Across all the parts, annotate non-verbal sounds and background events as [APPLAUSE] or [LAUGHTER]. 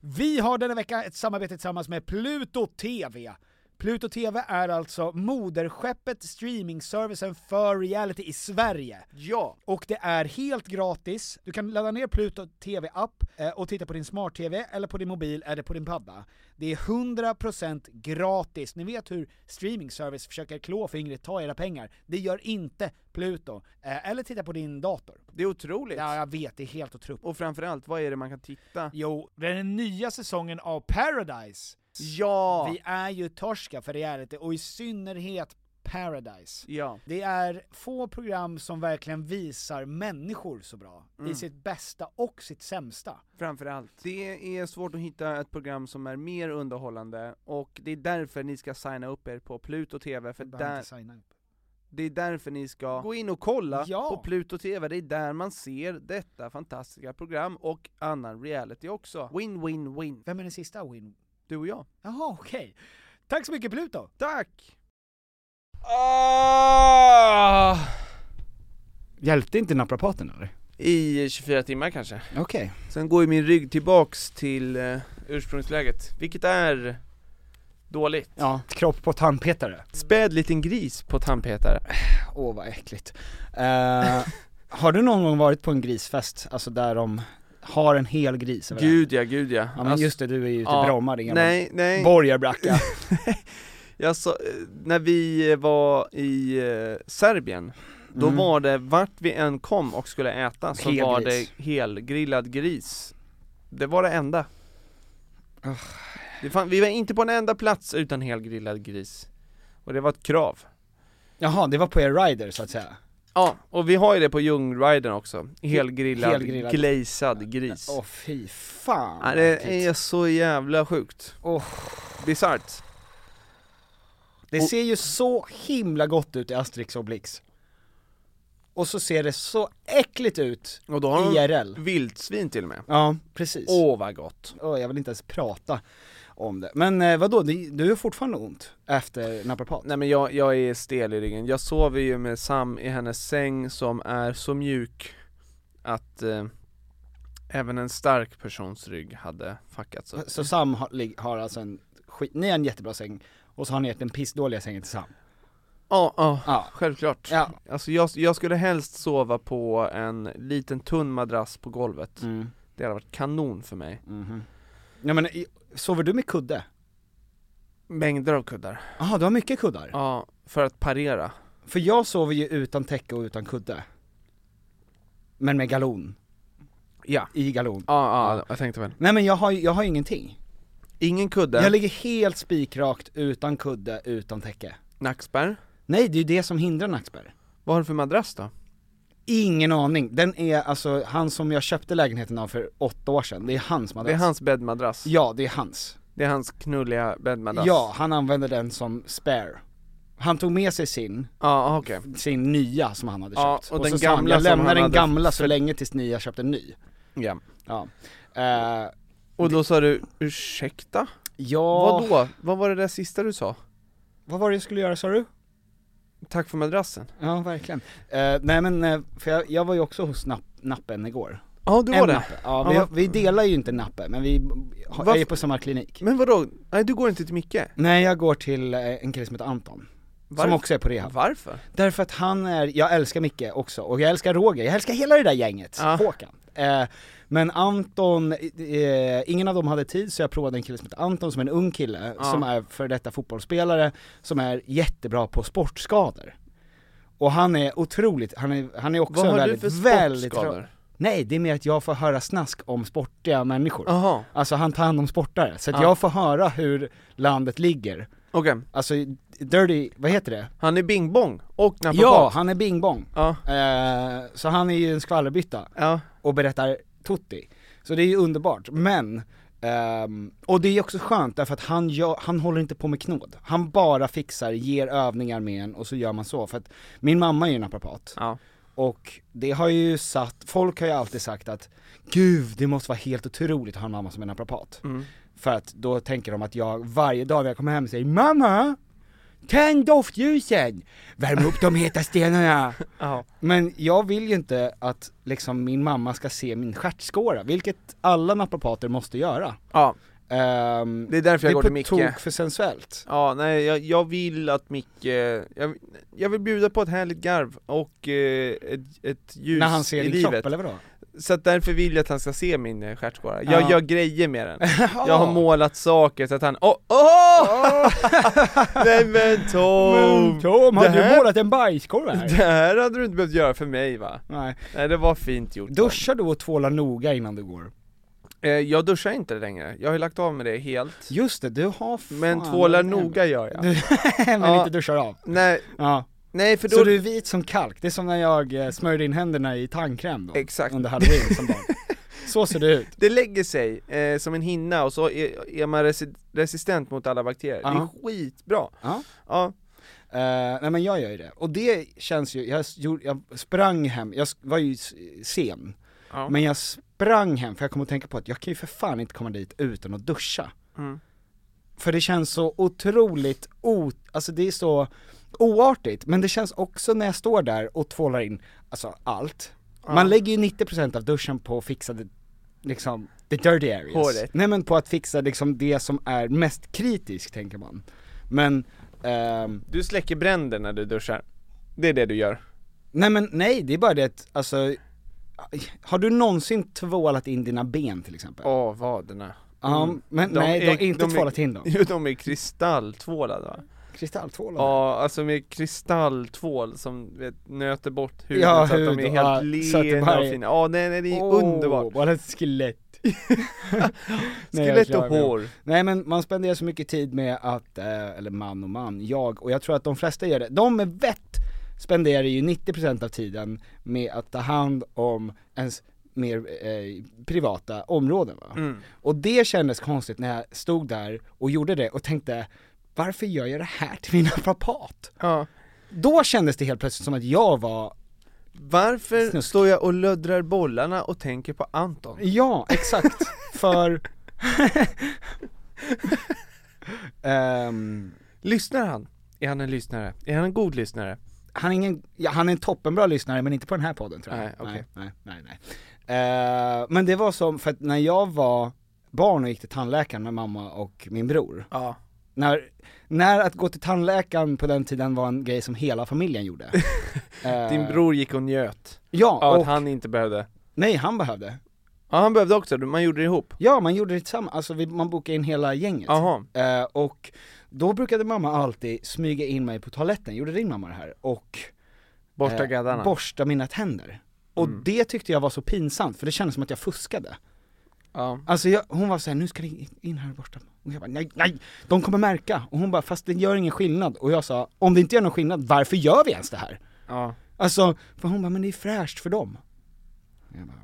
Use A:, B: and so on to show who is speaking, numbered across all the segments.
A: Vi har denna vecka ett samarbete tillsammans med Pluto TV. Pluto TV är alltså moderskeppet streamingservicen för reality i Sverige. Ja! Och det är helt gratis. Du kan ladda ner Pluto TV-app eh, och titta på din smart-TV, eller på din mobil, eller på din padda. Det är 100% gratis. Ni vet hur streamingservice försöker klå fingret, ta era pengar. Det gör inte Pluto. Eh, Eller titta på din dator.
B: Det är otroligt.
A: Ja, jag vet, det är helt otroligt.
B: Och framförallt, vad är det man kan titta?
A: Jo, den nya säsongen av Paradise
B: Ja!
A: vi är ju torska för reality, och i synnerhet Paradise.
B: Ja.
A: Det är få program som verkligen visar människor så bra,
B: Mm.
A: i sitt bästa och sitt sämsta.
B: Framförallt. Det är svårt att hitta ett program som är mer underhållande, och det är därför ni ska signa upp er på Pluto TV, för
A: Jag behöver
B: där,
A: inte signa upp.
B: det är därför ni ska gå in och kolla
A: Ja.
B: på Pluto TV, det är där man ser detta fantastiska program, och annan reality också. Win, win, win.
A: Vem är den sista win?
B: Du och jag.
A: Jaha, okej. Tack så mycket Pluto!
B: Tack!
C: Hjälpte inte naprapaten eller?
B: I 24 timmar kanske.
C: Okej.
B: Sen går ju min rygg tillbaks till eh, ursprungsläget, vilket är dåligt.
C: Ja, kropp på tandpetare.
B: Späd liten gris på tandpetare.
C: Åh vad äckligt. Eh, har du någon gång varit på en grisfest, alltså där de har en hel gris överallt?
B: Gud ja, gud ja. Alltså,
C: Ja men just det, du är ju ute i
B: ja,
C: Bromma, det är gammal
B: Nej, nej.
C: borgarbracka.
B: Jag sa, eh, när vi var i eh, Serbien, då
C: Mm.
B: var det vart vi än kom och skulle äta så
C: Hel
B: var
C: gris.
B: det helgrillad gris. Det var det enda.
C: Ugh.
B: Det fan, vi var inte på en enda plats utan helgrillad gris. Och det var ett krav.
C: Jaha, det var på er rider så att säga.
B: Ja, och vi har ju det på Ljungriden också, helgrillad,
C: Helgrillad.
B: glazad gris
C: Åh fy fan
B: ja,
C: vad
B: Det
C: äckligt.
B: är så jävla sjukt,
C: Åh,
B: bisarrt
C: Det
B: Och-
C: ser ju så himla gott ut i Asterix och Blix. Och så ser det så äckligt ut
B: Och då
C: IRL.
B: vildsvin till och med
C: Ja, precis.
B: Åh vad gott!
C: E Åh, jag vill inte ens prata om det. Men eh, vadå, du, du är fortfarande ont efter naprapat?
B: Nej men jag, jag är stel i ryggen, jag sover ju med Sam i hennes säng som är så mjuk att eh, även en stark persons rygg hade fuckats upp
C: Så Sam har, lig- har alltså en, skit, ni har en jättebra säng, och så har ni gett den pissdåliga sängen till Sam.
B: Ja, ja,
C: Ja.
B: självklart
C: Ja.
B: Alltså jag, jag skulle helst sova på en liten tunn madrass på golvet Det hade varit kanon för mig
C: Ja men, i- sover du med kudde?
B: Mängder av kuddar
C: Jaha, du har mycket kuddar?
B: Ja, för att parera
C: För jag sover ju utan täcke och utan kudde. Men med galon,
B: Ja
C: i galon.
B: Ja, ja, jag tänkte väl
C: Nej men jag har ju, jag har ju ingenting.
B: Ingen kudde,
C: Jag ligger helt spikrakt utan kudde, utan täcke.
B: nackspärr
C: Nej, det är ju det som hindrar nackspärr.
B: Vad har du för madrass då?
C: Ingen aning, den är alltså, han som jag köpte lägenheten av för åtta år sedan, det är hans madrass.
B: Det är hans bäddmadrass
C: Ja, det är hans.
B: Det är hans knulliga bäddmadrass
C: Ja, han använder den som spare. Han tog med sig sin,
B: Ja, ah, okej.
C: sin nya som han hade
B: Ja,
C: köpt.
B: och den
C: så sa han,
B: gamla
C: jag
B: som
C: lämnar
B: han
C: den
B: hade
C: gamla så
B: för-
C: länge tills ni har köpt en ny.
B: Ja.
C: Ja. Eh,
B: Och då sa du, ursäkta?
C: ja,
B: Vadå? Vad var det där sista du sa?
C: vad var det jag skulle göra sa du?
B: Tack för madrassen?
C: Ja verkligen. Eh, nej men, eh, för jag, jag var ju också hos napp, Nappen igår.
B: Ja, du
C: en
B: var det?
C: Nappe, ja,
B: Ja,
C: vi, vi delar ju inte Nappe men vi har,
B: Varför-
C: är på samma klinik.
B: Men vadå? Nej, du går inte till Micke?
C: Nej jag går till eh, en kille som heter Anton, som
B: Varför?
C: också är på rehab.
B: Varför?
C: Därför att han är, jag älskar Micke också, och jag älskar Roger, jag älskar hela det där gänget,
B: Ja.
C: Håkan. Eh, men Anton, eh, ingen av dem hade tid så jag provade en kille som heter Anton som är en ung kille,
B: Ja.
C: som är för detta fotbollsspelare, som är jättebra på sportskador. Och han är otroligt, han är, han är också
B: Vad har du
C: väldigt,
B: för
C: väldigt
B: sportskador?
C: Nej, det är mer att jag får höra snask om sportiga människor.
B: Jaha,
C: Alltså han tar hand om sportare, så att
B: Ja.
C: jag får höra hur landet ligger.
B: okej.
C: Alltså, dirty, vad heter det?
B: Han är bingbong och naprapat?
C: Ja, han är bingbong.
B: Ja,
C: Eh, så han är ju en skvallerbytta
B: ja.
C: och berättar Tutti. Så det är ju underbart, men ehm, och det är också skönt därför att han, gör, han håller inte på med knåd. Han bara fixar, ger övningar med en och så gör man så. För att min mamma är ju naprapat
B: ja.
C: och det har ju satt, folk har ju alltid sagt att gud det måste vara helt otroligt att ha en mamma som är naprapat.
B: Mm.
C: För att då tänker de att jag varje dag när jag kommer hem säger mamma, tänd doftljusen, värm upp de heta
B: [LAUGHS]
C: stenarna.
B: ja.
C: Men jag vill ju inte att liksom min mamma ska se min stjärtskåra, vilket alla naprapater måste göra.
B: ja.
C: Ehm,
B: Det är därför jag går
C: på
B: till Micke.
C: tok för sensuellt.
B: Ja, nej jag, jag vill att Micke, jag, jag vill bjuda på ett härligt garv och eh, ett, ett ljus
C: När han ser
B: i
C: din
B: livet.
C: kropp eller vadå?
B: Så att därför vill jag att han ska se min eh, stjärtskåra. Jag
C: Ja.
B: gör grejer
C: [LAUGHS]
B: med den. Jag
C: Ja.
B: har målat saker så att han, åh,
C: [LAUGHS]
B: åh! nej men Tom!
C: Men Tom,
B: det
C: har du
B: här-
C: målat en bajskorv
B: [LAUGHS] Det
C: här?
B: här hade du inte behövt göra för mig va?
C: Nej.
B: Nej det var fint gjort Tom.
C: Duschar du och tvålar noga innan du går?
B: eh, Jag duschar inte längre, jag har ju lagt av med det helt
C: Just det, du har fan
B: Men tvålar
C: en-
B: noga gör jag
C: [LAUGHS] men
B: Ja.
C: inte duschar av.
B: Nej,
C: Ja.
B: nej för då,
C: Så du är vit som kalk, det är som när jag eh, smörjde in händerna i tandkräm då.
B: Exakt.
C: Under halloween som barn.
B: [LAUGHS]
C: Så ser det ut.
B: det lägger sig eh, som en hinna och så är, är man resi- resistent mot alla bakterier,
C: Ja.
B: det är skitbra
C: Ja.
B: Ja,
C: Eh, nej men jag gör ju det, och det känns ju, jag, s- gjorde, jag sprang hem, jag s- var ju s- sen,
B: Ja.
C: men jag sprang hem för jag kom att tänka på att jag kan ju för fan inte komma dit utan att duscha.
B: Mm.
C: För det känns så otroligt o, alltså det är så oartigt, men det känns också när jag står där och tvålar in, alltså allt. Man lägger ju 90% av duschen på att fixa det, liksom, the dirty areas.
B: Håret.
C: Nej men på att fixa liksom det som är mest kritiskt tänker man. Men, ehm,
B: du släcker bränder när du duschar Det är det du gör
C: Nej men nej, det är bara det att, alltså, har du någonsin tvålat in dina ben till exempel?
B: Åh, vaderna
C: Ja,
B: mm.
C: men nej, du har inte tvålat in dem.
B: [LAUGHS] Jo, de är kristalltvålade va?
C: Kristalltvålade?
B: Ja, alltså med kristalltvål som vet, nöter bort huden
C: Ja,
B: så att de är
C: hud,
B: helt
C: ja, så att det
B: lena
C: bara
B: och
C: är-
B: fina. Ja, nej, nej, det är underbart. [LAUGHS]
C: Bara ett skelett. [LAUGHS] Nej, jag
B: Skelett och
C: klarar mig.
B: hår.
C: Nej men man spenderar så mycket tid med att, eh, eller man och man, jag och jag tror att de flesta gör det. De med vett spenderar ju 90% av tiden med att ta hand om ens mer eh, privata områden va.
B: Mm.
C: Och det kändes konstigt när jag stod där och gjorde det och tänkte, varför gör jag det här till min naprapat?
B: Ja.
C: Då kändes det helt plötsligt som att jag var,
B: Varför
C: Snusk.
B: står jag och löddrar bollarna och tänker på Anton?
C: ja exakt,
B: [LAUGHS]
C: för [LAUGHS] Ehm,
B: Lyssnar han? Är han en lyssnare? Är han en god lyssnare?
C: han är ingen, ja, han är en toppenbra lyssnare men inte på den här podden tror jag.
B: Nej, okej.
C: nej, nej, nej. Eh, men det var som, för att när jag var barn och gick till tandläkaren med mamma och min bror,
B: Ja.
C: när, när att gå till tandläkaren på den tiden var en grej som hela familjen
B: [LAUGHS]
C: gjorde. Eh,
B: Din bror gick och njöt
C: Ja,
B: av
C: och,
B: att han inte behövde.
C: nej han behövde.
B: Ja, han behövde också, man gjorde det ihop.
C: Ja, man gjorde det tillsammans, alltså vi, man bokade in hela gänget.
B: Jaha.
C: Eh, och då brukade mamma alltid smyga in mig på toaletten, gjorde din mamma det här? Och
B: Borsta
C: eh,
B: gaddarna.
C: borsta Mm. mina tänder. Och det tyckte jag var så pinsamt, för det kändes som att jag fuskade.
B: ja.
C: Alltså jag, hon var såhär, nu ska ni in här och borsta. Och jag bara, nej, nej, de kommer märka. Och hon bara, fast det gör ingen skillnad. Och jag sa, om det inte gör någon skillnad, varför gör vi ens det här?
B: ja.
C: Alltså, för hon bara, men det är fräscht för dem. Jag bara,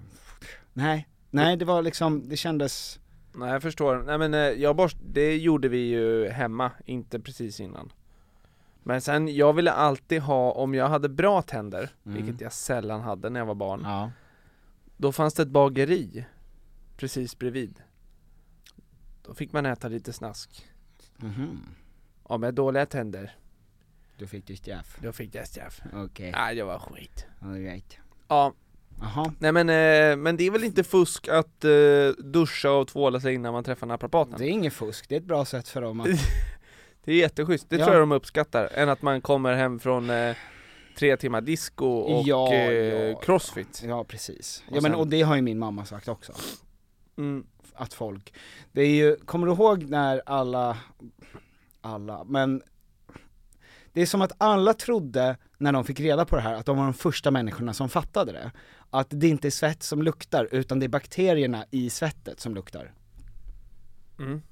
C: nej, nej det var liksom, det kändes,
B: Nej jag förstår, nej men eh, jag borst, det gjorde vi ju hemma, inte precis innan Men sen, jag ville alltid ha, om jag hade bra tänder,
C: Mm.
B: vilket jag sällan hade när jag var barn,
C: Ja.
B: då fanns det ett bageri precis bredvid. Då fick man äta lite snask.
C: Mhm.
B: Och med dåliga tänder,
C: Du fick du straff.
B: då fick jag straff.
C: Okej,
B: Nej, det var skit.
C: alright.
B: Ja,
C: Jaha.
B: nej men, eh, men det är väl inte fusk att eh, duscha och tvåla sig innan man träffar naprapaten?
C: Det är inget fusk, det är ett bra sätt för dem att...
B: Det är jätteschysst, det
C: Ja.
B: tror jag de uppskattar, än att man kommer hem från eh, tre timmar disco och
C: Ja,
B: eh,
C: ja.
B: crossfit
C: Ja precis.
B: Och
C: ja men
B: sen-
C: och det har ju min mamma sagt också.
B: mm.
C: att folk, det är ju, kommer du ihåg när alla, alla, men det är som att alla trodde när de fick reda på det här att de var de första människorna som fattade det. Att det inte är svett som luktar utan det är bakterierna i svettet som luktar.
B: Mm.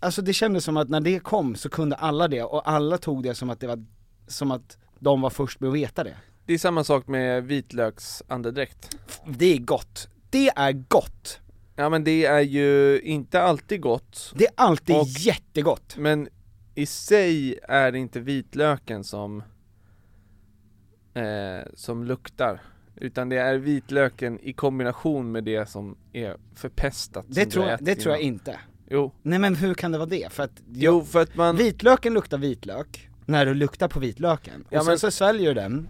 C: Alltså det kändes som att när det kom så kunde alla det och alla tog det som att det var, som att de var först med att veta det.
B: Det är samma sak med vitlöksandedräkt
C: Det är gott. Det är gott.
B: Ja men det är ju inte alltid gott,
C: Det är alltid
B: Och-
C: jättegott.
B: men i sig är det inte vitlöken som eh, som luktar utan det är vitlöken i kombination med det som är förpestat
C: Det
B: som du
C: tror,
B: har
C: jag,
B: ätit
C: det tror jag
B: innan.
C: inte.
B: Jo,
C: Nej men hur kan det vara det? För att
B: jo för att man
C: vitlöken luktar vitlök när du luktar på vitlöken,
B: Ja,
C: och sen
B: men-
C: så sväljer du den,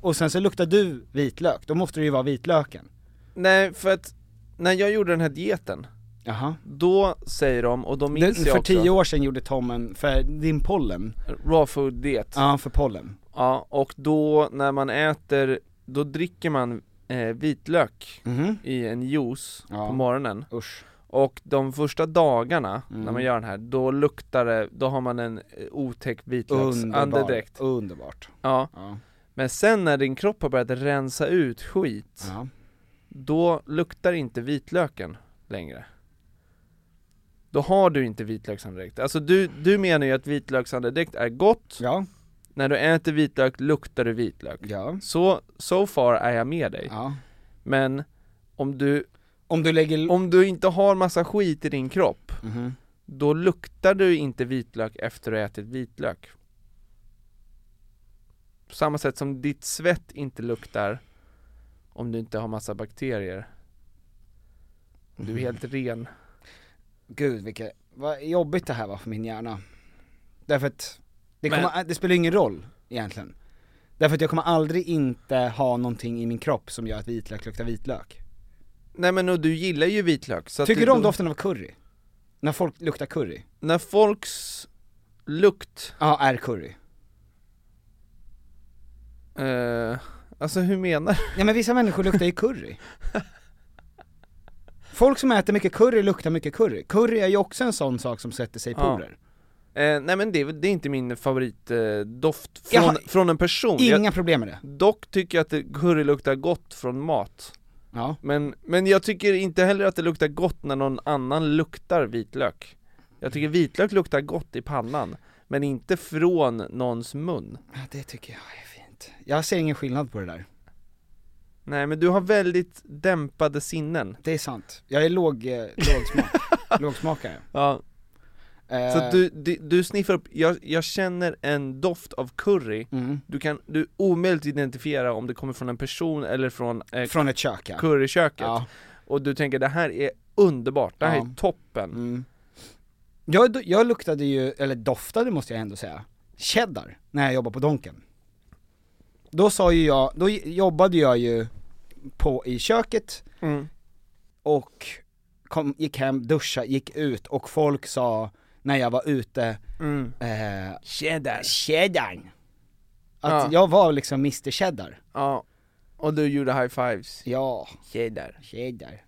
C: och sen så luktar du vitlök, då måste det ju vara vitlöken
B: Nej, för att när jag gjorde den här dieten,
C: Jaha.
B: då säger de, och då
C: Den,
B: minns jag
C: för
B: också,
C: tio år sedan gjorde Tom en, för din pollen,
B: raw food diet. Ja.
C: ja för pollen,
B: och då när man äter, då dricker man eh, vitlök
C: mhm,
B: i en juice
C: Ja.
B: på morgonen.
C: usch
B: Och de första dagarna när
C: Mm.
B: man gör den här, då luktar det, då har man en eh, otäck
C: Underbart,
B: vitlöksandedräkt.
C: underbart,
B: Ja,
C: ja,
B: men sen när din kropp har börjat rensa ut skit,
C: ja.
B: då luktar inte vitlöken längre. Då har du inte vitlöksandedräkt. Alltså du, du menar ju att vitlöksandedräkt är gott,
C: ja,
B: när du äter vitlök luktar du vitlök.
C: ja,
B: Så, so far är jag med dig.
C: ja
B: Men om du,
C: Om du lägger,
B: om du inte har massa skit i din kropp,
C: Mhm.
B: då luktar du inte vitlök efter du har ätit vitlök. På samma sätt som ditt svett inte luktar om du inte har massa bakterier. Om
C: Mhm.
B: Du är helt ren.
C: gud vilket, vad jobbigt det här var för min hjärna Därför att, det,
B: Men-
C: kommer, det spelar ingen roll egentligen Därför att jag kommer aldrig inte ha någonting i min kropp som gör att vitlök luktar vitlök
B: Nej men och du gillar ju vitlök så att
C: Tycker
B: det-
C: du om doften av curry? När folk luktar curry?
B: När folks lukt,
C: Ja, är curry.
B: eh, alltså hur menar du?
C: Nej men vissa människor luktar ju
B: [LAUGHS]
C: curry. Folk som äter mycket curry luktar mycket curry. Curry är ju också en sån sak som sätter sig i
B: Ja.
C: porer.
B: Eh, nej men det, är väl- det är inte min favoritdoft eh, doft
C: Jag
B: från,
C: har
B: från en person
C: Inga
B: jag,
C: problem med det.
B: Dock tycker jag att det- curry luktar gott från mat
C: Ja.
B: men, men jag tycker inte heller att det luktar gott när någon annan luktar vitlök Jag tycker vitlök luktar gott i pannan Men inte från någons mun
C: ja, det tycker jag är fint. Jag ser ingen skillnad på det där.
B: Nej men du har väldigt dämpade sinnen
C: Det är sant. Jag är låg, eh, lågsmak,
B: [LAUGHS]
C: lågsmakare.
B: Ja,
C: Eh,
B: Så att du, du, du sniffar upp, jag, jag känner en doft av curry
C: Mm,
B: Du kan, du är omöjligt identifiera om det kommer från en person eller från eh,
C: från ett kök ja.
B: curryköket
C: ja.
B: Och du tänker det här är underbart, det här
C: Ja.
B: är toppen
C: Mm. Jag, jag luktade ju, eller doftade måste jag ändå säga, cheddar när jag jobbade på Donken. Då sa ju jag, då jobbade jag ju på, i köket
B: mm.
C: och kom, gick hem, duscha, gick ut och folk sa när jag var ute,
B: Mm.
C: eh,
B: Cheddar
C: cheddarn. Att
B: Ja.
C: jag var liksom Mr Cheddar.
B: Ja, och du gjorde high fives
C: Ja,
B: Cheddar
C: cheddar.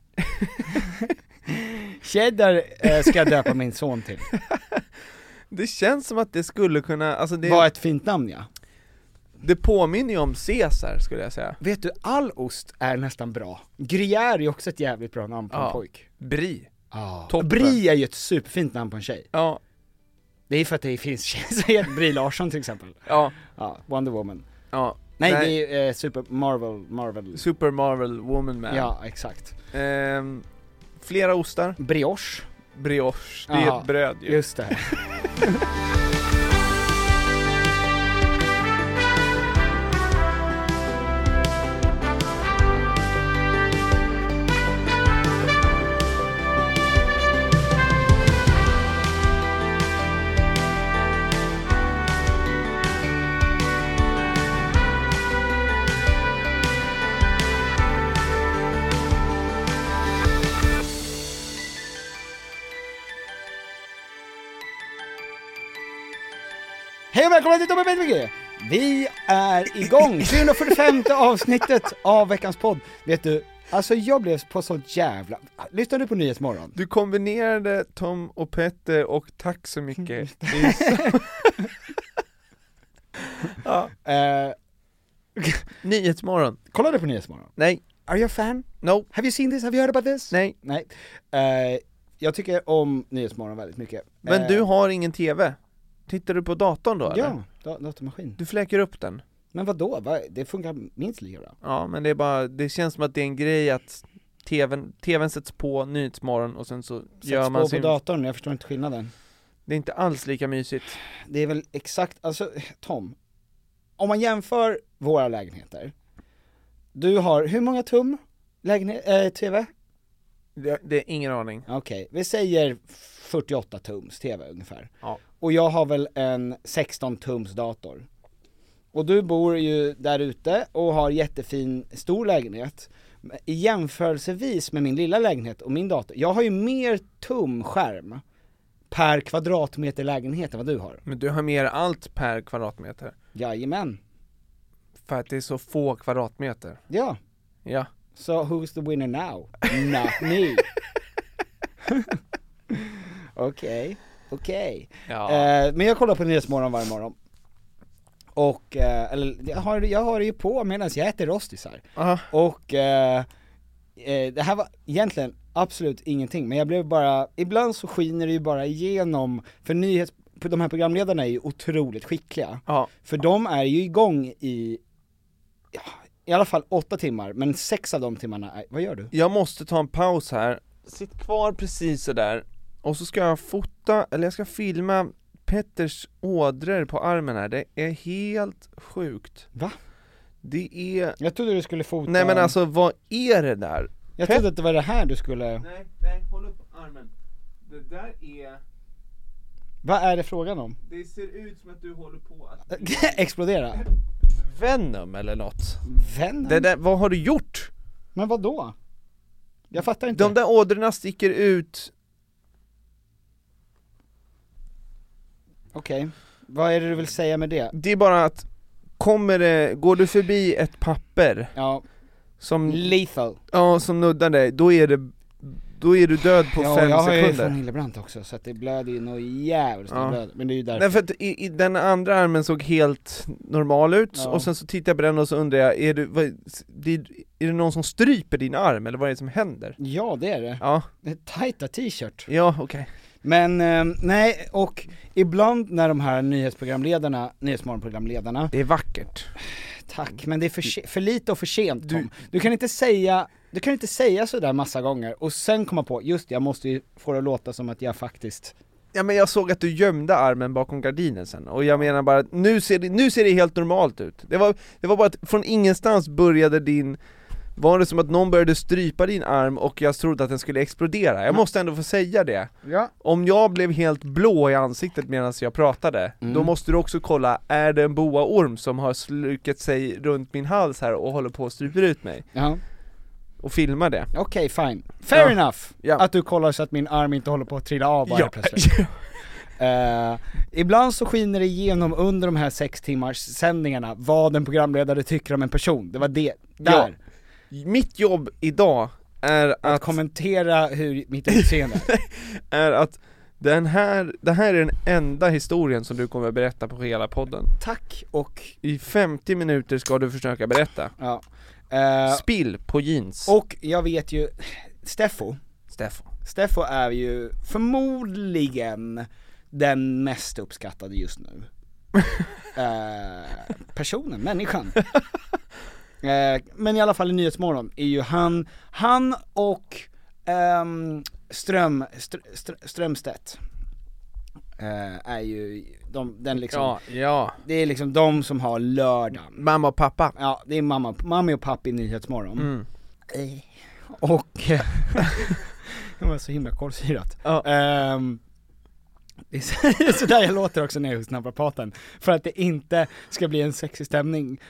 C: [LAUGHS] cheddar eh, ska jag döpa min son till.
B: Det känns som att det skulle kunna, alltså det,
C: Var ett fint namn ja.
B: det påminner ju om Caesar skulle jag säga
C: Vet du, all ost är nästan bra. Gruyère är också ett jävligt bra namn på en
B: Ja.
C: pojk.
B: Brie
C: Och
B: Toppen.
C: Brie är ju ett superfint namn på en tjej.
B: Ja,
C: Det är för att det finns tjejer som heter Brie Larsson till exempel.
B: ja,
C: Ja, Wonder Woman.
B: ja
C: Nej, det är eh, Super Marvel, Marvel.
B: Super Marvel Woman Man
C: Ja, exakt.
B: Ehm, Flera ostar,
C: Brioche,
B: brioche, det är
C: Aha.
B: ett bröd ju
C: just det. Hej och välkomna till WBG! Vi är igång! 345 avsnittet av veckans podd. Vet du, alltså jag blev på så jävla... Lyssna nu på Nyhetsmorgon.
B: Du kombinerade Tom och Petter och tack så mycket
C: [LAUGHS]
B: i sam-
C: Eh,
B: Nyhetsmorgon,
C: kolla du på Nyhetsmorgon?
B: nej,
C: Are you a fan?
B: no,
C: Have you seen this? Have you heard about this?
B: nej,
C: Nej. Eh, jag tycker om Nyhetsmorgon väldigt mycket.
B: men
C: Eh,
B: du har ingen TV? Tittar du på datorn då eller?
C: Ja, da- datormaskin.
B: Du fläker upp den?
C: Men vadå? Va? Det funkar minst lika bra.
B: Ja, men det är bara, det känns som att det är en grej att TVn, TVn sätts på Nyhetsmorgon och sen så gör
C: Sätts
B: man
C: på
B: sin...
C: på datorn, jag förstår inte skillnaden.
B: Det är inte alls lika mysigt.
C: Det är väl exakt, alltså Tom, om man jämför våra lägenheter, du har hur många tum lägenhet, eh, TV?
B: Det, det är ingen aning.
C: Okej, vi säger 48 tums TV ungefär.
B: Ja.
C: Och jag har väl en 16 tums dator. Och du bor ju där ute och har jättefin stor lägenhet. Men I jämförelsevis med min lilla lägenhet och min dator, jag har ju mer tumskärm per kvadratmeter lägenhet än vad du har.
B: Men du har mer allt per kvadratmeter.
C: Jajamän.
B: För att det är så få kvadratmeter.
C: Ja.
B: Ja.
C: So who's the winner now? Not me. [LAUGHS] Okej, okej.
B: Ja.
C: Eh, men jag kollar på Nyhetsmorgon varje morgon. Och, eh, eller jag har, jag har det ju på medan jag äter rostisar.
B: Aha.
C: Och eh, eh, det här var egentligen absolut ingenting, men jag blev bara, ibland så skiner det ju bara igenom, för nyhets, de här programledarna är ju otroligt skickliga.
B: Ja.
C: För de är ju igång i, ja, i alla fall åtta timmar, men sex av de timmarna är, vad gör du?
B: Jag måste ta en paus här. Sitt kvar precis sådär. Och så ska jag fota, eller jag ska filma Petters ådror på armen här. Det är helt sjukt.
C: Va?
B: Det är...
C: Jag trodde du skulle fota,
B: Nej men alltså vad är det där?
C: jag trodde att det var det här du skulle,
B: Nej, nej, håll upp armen. Det där är...
C: vad är det frågan om? [LAUGHS]
B: Det ser ut som att du håller på att...
C: Explodera?
B: Venom eller något.
C: Venom?
B: Det där, vad har du gjort?
C: Men vad då? Jag fattar inte.
B: De där ådrorna sticker ut.
C: Okej, vad är det du vill säga med det?
B: Det är bara att, kommer det, går du förbi ett papper
C: Ja,
B: som,
C: lethal.
B: ja, som nuddar dig, då är det, då är du död på
C: ja,
B: fem
C: jag har ju från
B: sekunder.
C: Hillebrand också, så att det blöder ju nog jävligt
B: Ja.
C: ja. blöd. Men det är ju därför.
B: Nej för att i, i den andra armen såg helt normal ut,
C: Ja.
B: och sen så tittar jag på den och så undrar jag, är, du, vad, det, är det någon som stryper din arm, eller vad är det som händer?
C: Ja det är det.
B: Ja,
C: Det är tajta t-shirt.
B: ja okej.
C: Men ehm, nej, och ibland när de här nyhetsprogramledarna, nyhetsmorgonprogramledarna,
B: Det är vackert.
C: tack, men det är för, se- för lite och för sent Tom.
B: Du-
C: Du, kan inte säga, du kan inte säga sådär massa gånger och sen komma på, just det, jag måste ju få det att låta som att jag faktiskt
B: Ja men jag såg att du gömde armen bakom gardinen sen, och jag menar bara att nu ser det, nu ser det helt normalt ut. Det var, det var bara att från ingenstans började din, var det som att någon började strypa din arm och jag trodde att den skulle explodera. Jag måste ändå få säga det.
C: Ja.
B: Om jag blev helt blå i ansiktet medan jag pratade, då måste du också kolla, är det en boaorm som har slukat sig runt min hals här och håller på och stryper ut mig?
C: Ja.
B: Och filma det.
C: Okej, fine. Fair
B: Ja.
C: enough!
B: Ja.
C: Att du kollar så att min arm inte håller på att trilla av bara
B: [LAUGHS] Ja.
C: plötsligt. Eh, ibland så skiner det igenom under de här sex timmars sändningarna vad en programledare tycker om en person, det var det, där.
B: Mitt jobb idag är
C: Att,
B: att
C: kommentera hur mitt utseende,
B: [LAUGHS] är att den här, det här är den enda historien som du kommer berätta på hela podden.
C: tack och,
B: I 50 minuter ska du försöka berätta.
C: ja. Eh,
B: Spill på jeans,
C: och jag vet ju, Steffo,
B: Stefan.
C: Steffo är ju förmodligen den mest uppskattade just nu. eh, personen, människan. eh, men i alla fall i Nyhetsmorgon är ju han, han och ehm, Ström, str, str, Strömstedt eh, är ju de, den liksom,
B: Ja, ja.
C: det är liksom de som har lördagen.
B: Mamma och pappa.
C: Ja, det är mamma, mamma och pappa i Nyhetsmorgon.
B: Mm.
C: Eh, Och... [LAUGHS] eh, det var så himla kolsyrat.
B: Ja.
C: Ehm, det är så- [LAUGHS] det är sådär jag låter också när jag hos naprapaten. För att det inte ska bli en sexig stämning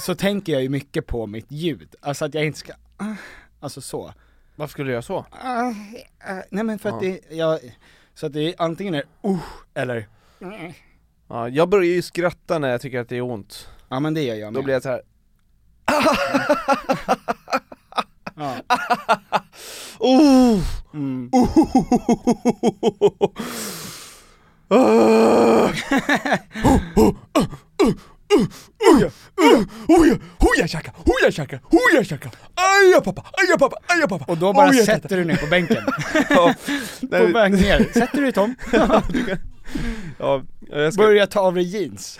C: så tänker jag ju mycket på mitt ljud. Alltså att jag inte ska, alltså så.
B: Varför skulle du göra så?
C: Nej men för att det, jag, så att det är antingen är uh, eller
B: Ja, jag börjar ju skratta när jag tycker att det är ont.
C: Ja men det gör jag med.
B: Då blir jag så här.
C: ja.
B: Oh!
C: mm.
B: Ah!
D: Oja, oja, oja, oja tjacka, oja tjacka, oja tjacka. Aja pappa, aja pappa, aja pappa.
C: Och då
B: Oh,
C: bara
D: Oja,
C: sätter du ner på bänken.
B: Ja,
C: på
B: nej,
C: väg ner.
B: [LAUGHS]
C: Sätter du dig Tom?
B: ja, jag ska,
C: Börja ta av dig
B: [LAUGHS]
C: jeans.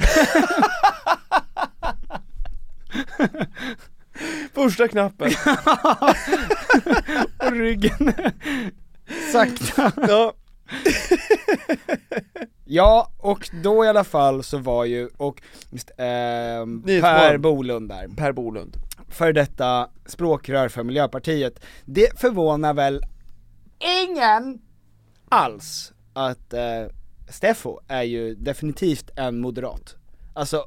B: första knappen.
C: Och ryggen. Sakta.
B: Ja,
C: Ja, och då i alla fall så var ju, och just, ehm,
B: Nyhetsmorgon.
C: Per Bolund där,
B: per Bolund.
C: för detta språkrör för Miljöpartiet. Det förvånar väl ingen alls att eh, Steffo är ju definitivt en moderat. Alltså,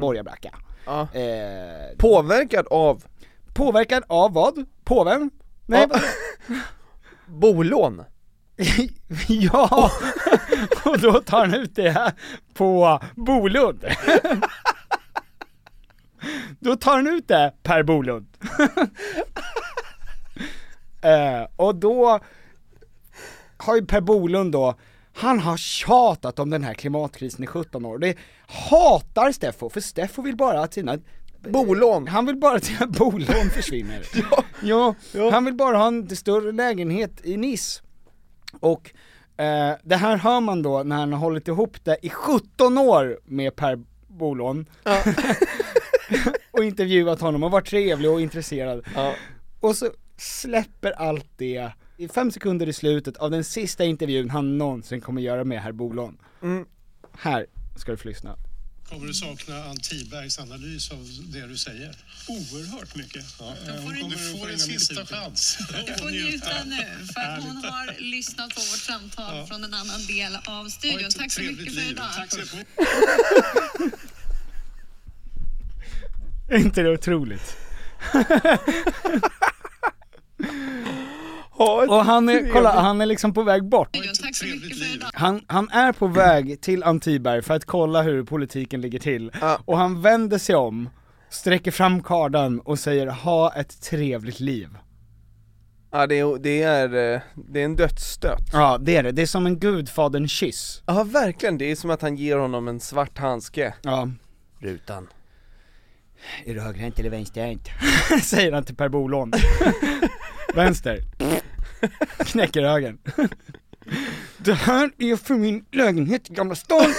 C: borgarbracka.
B: Mm. Ja.
C: Eh,
B: Påverkad av
C: påverkad av vad? Påven? Nej,
B: Ja. [LAUGHS] bolån.
C: ja! och [LAUGHS] då tar han ut det här på Bolund. då tar han ut det Per
B: [LAUGHS]
C: Bolund. eh, och då har ju Per Bolund då, han har tjatat om den här klimatkrisen i 17 år. Det hatar Steffo, för Steffo vill bara att sina
B: Bolån.
C: han vill bara att sina bolån försvinner. ja,
B: [LAUGHS] ja.
C: han vill bara ha en större lägenhet i Nice. Och eh, det här hör man då när han har hållit ihop det i 17 år med Per Bolån. och intervjuat honom och varit trevlig och intresserad. Och så släpper allt det i fem sekunder i slutet av den sista intervjun han någonsin kommer göra med herr Bolån. Här ska du få lyssna.
E: Kommer du sakna Ann Tibergs analys av det du säger? Oerhört mycket. du, får en sista [LAUGHS] chans. Du får njuta nu, för att hon har lyssnat på vårt samtal från en annan del av studion. Tack så mycket för idag. Tack så mycket.
C: Är inte det otroligt?
B: Ha ett
C: Och han är,
B: trevligt-
C: kolla, han är liksom på väg bort.
E: Tack så mycket för idag.
C: Han, han är på väg till Antiberg för att kolla hur politiken ligger till. Och han vänder sig om, sträcker fram kardan och säger ha ett trevligt liv.
B: Ja, det är, det är, eh, det är en dödsstöt.
C: Ja det är det, det är som en gudfadern-kyss.
B: Ja, verkligen. Det är som att han ger honom en svart handske.
C: Ja.
B: Rutan.
C: Är du högerhänt eller vänsterhänt? [LAUGHS] säger han till Per [LAUGHS] Bolån. Vänster. Knäcker högern. det här är för min lägenhet i Gamla stan.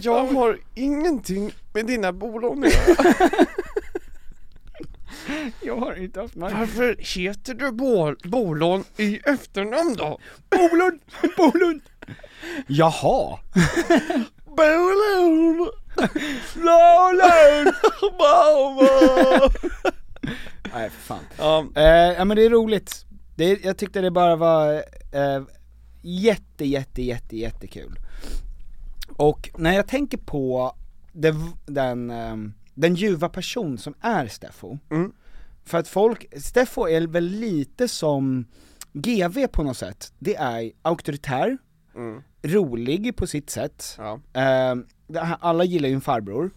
B: Jag har ingenting med dina bolån att göra.
C: Jag har inte haft mark.
B: Varför heter du bol bolån i efternamn då?
C: Bolund! Bolund! [LAUGHS] Jaha!
B: Bolån! Bolån! Mamma!
C: Nej för fan.
B: Ja,
C: Eh, ja men det är roligt. Det är, jag tyckte det bara var eh, jätte, jätte, jätte, jättekul. Och när jag tänker på det, v- den, ehm, den ljuva person som är Steffo.
B: Mm.
C: För att folk, Steffo är väl lite som GV på något sätt. Det är auktoritär, rolig på sitt sätt.
B: Mm. ja.
C: Ehm, det här- alla gillar ju en farbror.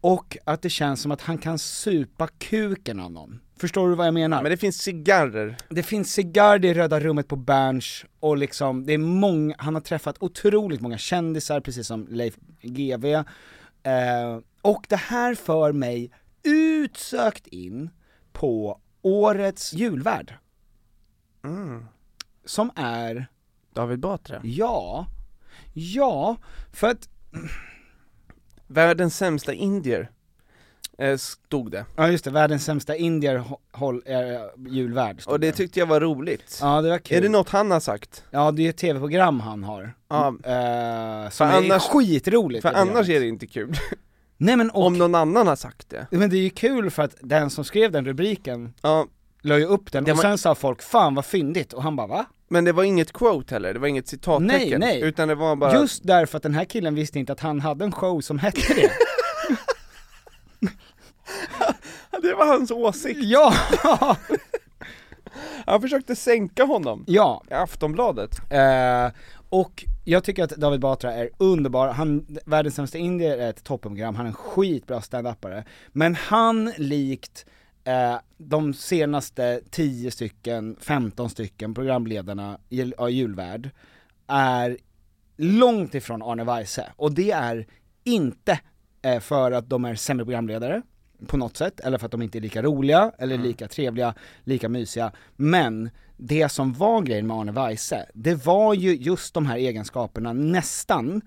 C: Och att det känns som att han kan supa kuken av någon. Förstår du vad jag menar?
B: Men det finns cigarrer.
C: det finns cigarr i Röda rummet på Berns och liksom, det är många, han har träffat otroligt många kändisar precis som Leif GV eh, Och det här för mig utsökt in på årets julvärd
B: Mm.
C: Som är,
B: David Batra.
C: ja, ja, för att,
B: Världens sämsta indier. Eh, stod det.
C: ja just det, världens sämsta indier hå- håll, eh, julvärd stod
B: Och det tyckte jag var roligt.
C: Ja det var kul.
B: Är det något han har sagt?
C: Ja det är ett tv-program han har.
B: Ja.
C: Eh, som
B: För
C: är
B: annars-
C: skitroligt.
B: För
C: det programmet.
B: annars är det
C: [LAUGHS]
B: inte kul.
C: Nej men och,
B: Om någon annan har sagt det.
C: men det är ju kul för att den som skrev den rubriken
B: Ja,
C: la ju upp den
B: Det
C: och
B: var-
C: sen sa folk 'Fan vad fyndigt' och han bara 'Va?'
B: Men det var inget quote heller, det var inget citattecken,
C: Nej, nej.
B: utan det var bara
C: Just därför att den här killen visste inte att han hade en show som hette det. [LAUGHS]
B: [LAUGHS] Det var hans åsikt,
C: ja! [LAUGHS]
B: han försökte sänka honom
C: ja.
B: i Aftonbladet
C: Eh, Och jag tycker att David Batra är underbar, han, Världens sämsta indier är ett toppenprogram, han är en skitbra standupare. Men han likt eh, de senaste 10 stycken, 15 stycken programledarna i ja, julvärd, är långt ifrån Arne Weise. Och det är inte eh, för att de är sämre programledare på något sätt, eller för att de inte är lika roliga, eller lika trevliga, lika mysiga. Men det som var grejen med Arne Weise, det var ju just de här egenskaperna nästan,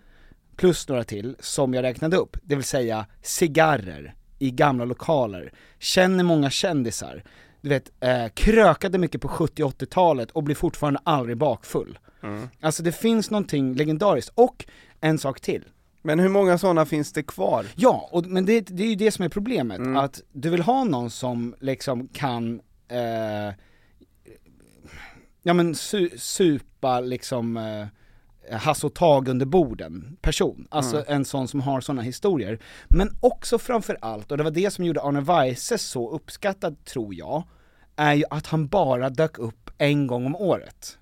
C: plus några till, som jag räknade upp. Det vill säga cigarrer i gamla lokaler, känner många kändisar, du vet, eh, krökade mycket på 70 och 80-talet och blir fortfarande aldrig bakfull. Alltså det finns någonting legendariskt, och en sak till.
B: Men hur många sådana finns det kvar?
C: Ja, och, men det, det är ju det som är problemet, att du vill ha någon som liksom kan, eh, ja men su, supa liksom eh, Hasse och Tag under borden person, alltså en sån som har såna historier. Men också framförallt, och det var det som gjorde Arne Weise så uppskattad tror jag, är ju att han bara dök upp en gång om året.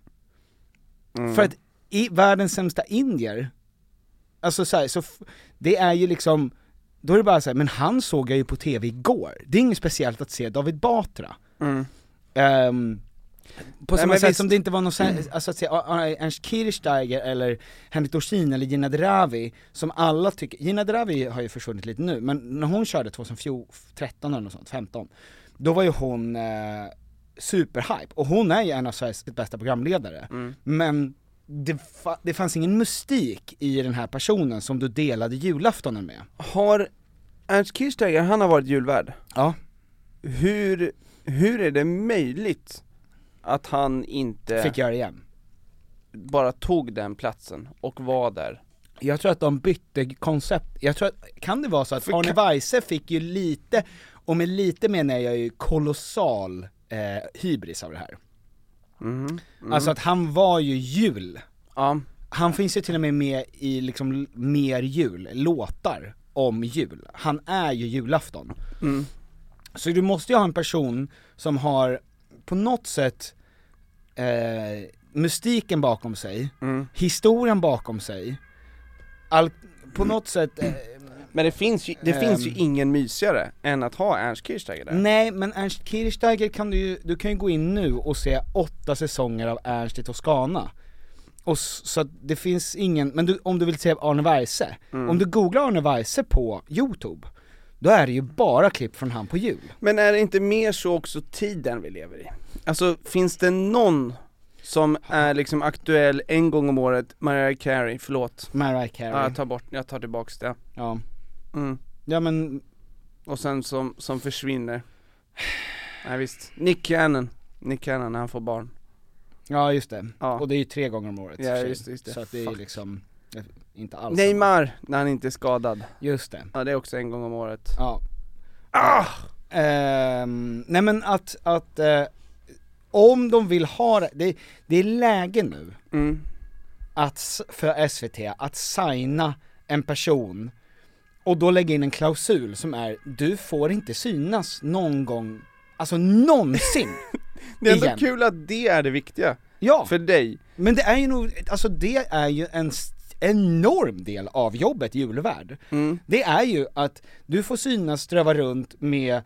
C: För att i världens sämsta indier, Alltså så, här, så f- det är ju liksom, då är det bara så här, men han såg jag ju på TV igår. Det är inget speciellt att se David Batra. Ehm, på samma
B: men
C: sätt
B: visst.
C: som det inte var någon, sen- alltså att se ah, ah, Ernst Kirchsteiger eller Henrik Dorsin eller Gina Dravi, som alla tycker, Gina Dravi har ju försvunnit lite nu, men när hon körde 2013 eller något sånt, 15, då var ju hon eh, superhype, och hon är ju en av Sveriges bästa programledare, men det, fa- det fanns ingen mystik i den här personen som du delade julaftonen med.
B: Har Ernst Kirchsteiger, han har varit julvärd.
C: Ja.
B: Hur, hur är det möjligt att han inte
C: Fick göra igen.
B: bara tog den platsen och var där?
C: Jag tror att de bytte koncept, jag tror att, kan det vara så att Arne Weise fick ju lite, och med lite menar jag ju kolossal eh, hybris av det här. Alltså att han var ju jul,
B: Ja,
C: han finns ju till och med med i liksom l- mer jul, låtar om jul. Han är ju julafton. Så du måste ju ha en person som har på något sätt eh, mystiken bakom sig, historien bakom sig, all, på något sätt eh,
B: men det finns ju, det finns ju ingen mysigare än att ha Ernst Kirchsteiger där.
C: Ehm. Nej men Ernst Kirchsteiger kan du ju, du kan ju gå in nu och se åtta säsonger av Ernst i Toscana och s- så att det finns ingen, men du, om du vill se Arne Weise,
B: Mm.
C: om du googlar Arne Weise på youtube, då är det ju bara klipp från han på jul.
B: Men är det inte mer så också tiden vi lever i? Alltså finns det någon som är liksom aktuell en gång om året, Mariah Carey, förlåt,
C: Mariah
B: ja,
C: Carey.
B: jag tar bort, jag tar tillbaks det,
C: Ja.
B: Mm.
C: Ja men,
B: och sen som, som försvinner Nej visst, Nick Cannon, Nick Cannon när han får barn
C: ja just det.
B: Ja.
C: Och det är ju tre gånger om året. i och
B: Ja,
C: för sig.
B: just det, just det.
C: Så att det är
B: Fuck.
C: liksom, eh, inte alls samma.
B: Neymar, när han inte är skadad,
C: Just det.
B: ja det är också en gång om året
C: Ja.
B: Ah!
C: Ehm, nej men att, att eh, om de vill ha det, det, det är läge nu
B: mm.
C: att, s- för SVT att signa en person och då lägga in en klausul som är du får inte synas någon gång, alltså någonsin!
B: [LAUGHS] Det är ändå
C: Igen.
B: kul att det är det viktiga,
C: Ja,
B: för dig
C: men det är ju nog, alltså det är ju en s- enorm del av jobbet i julvärd. Det är ju att du får synas ströva runt med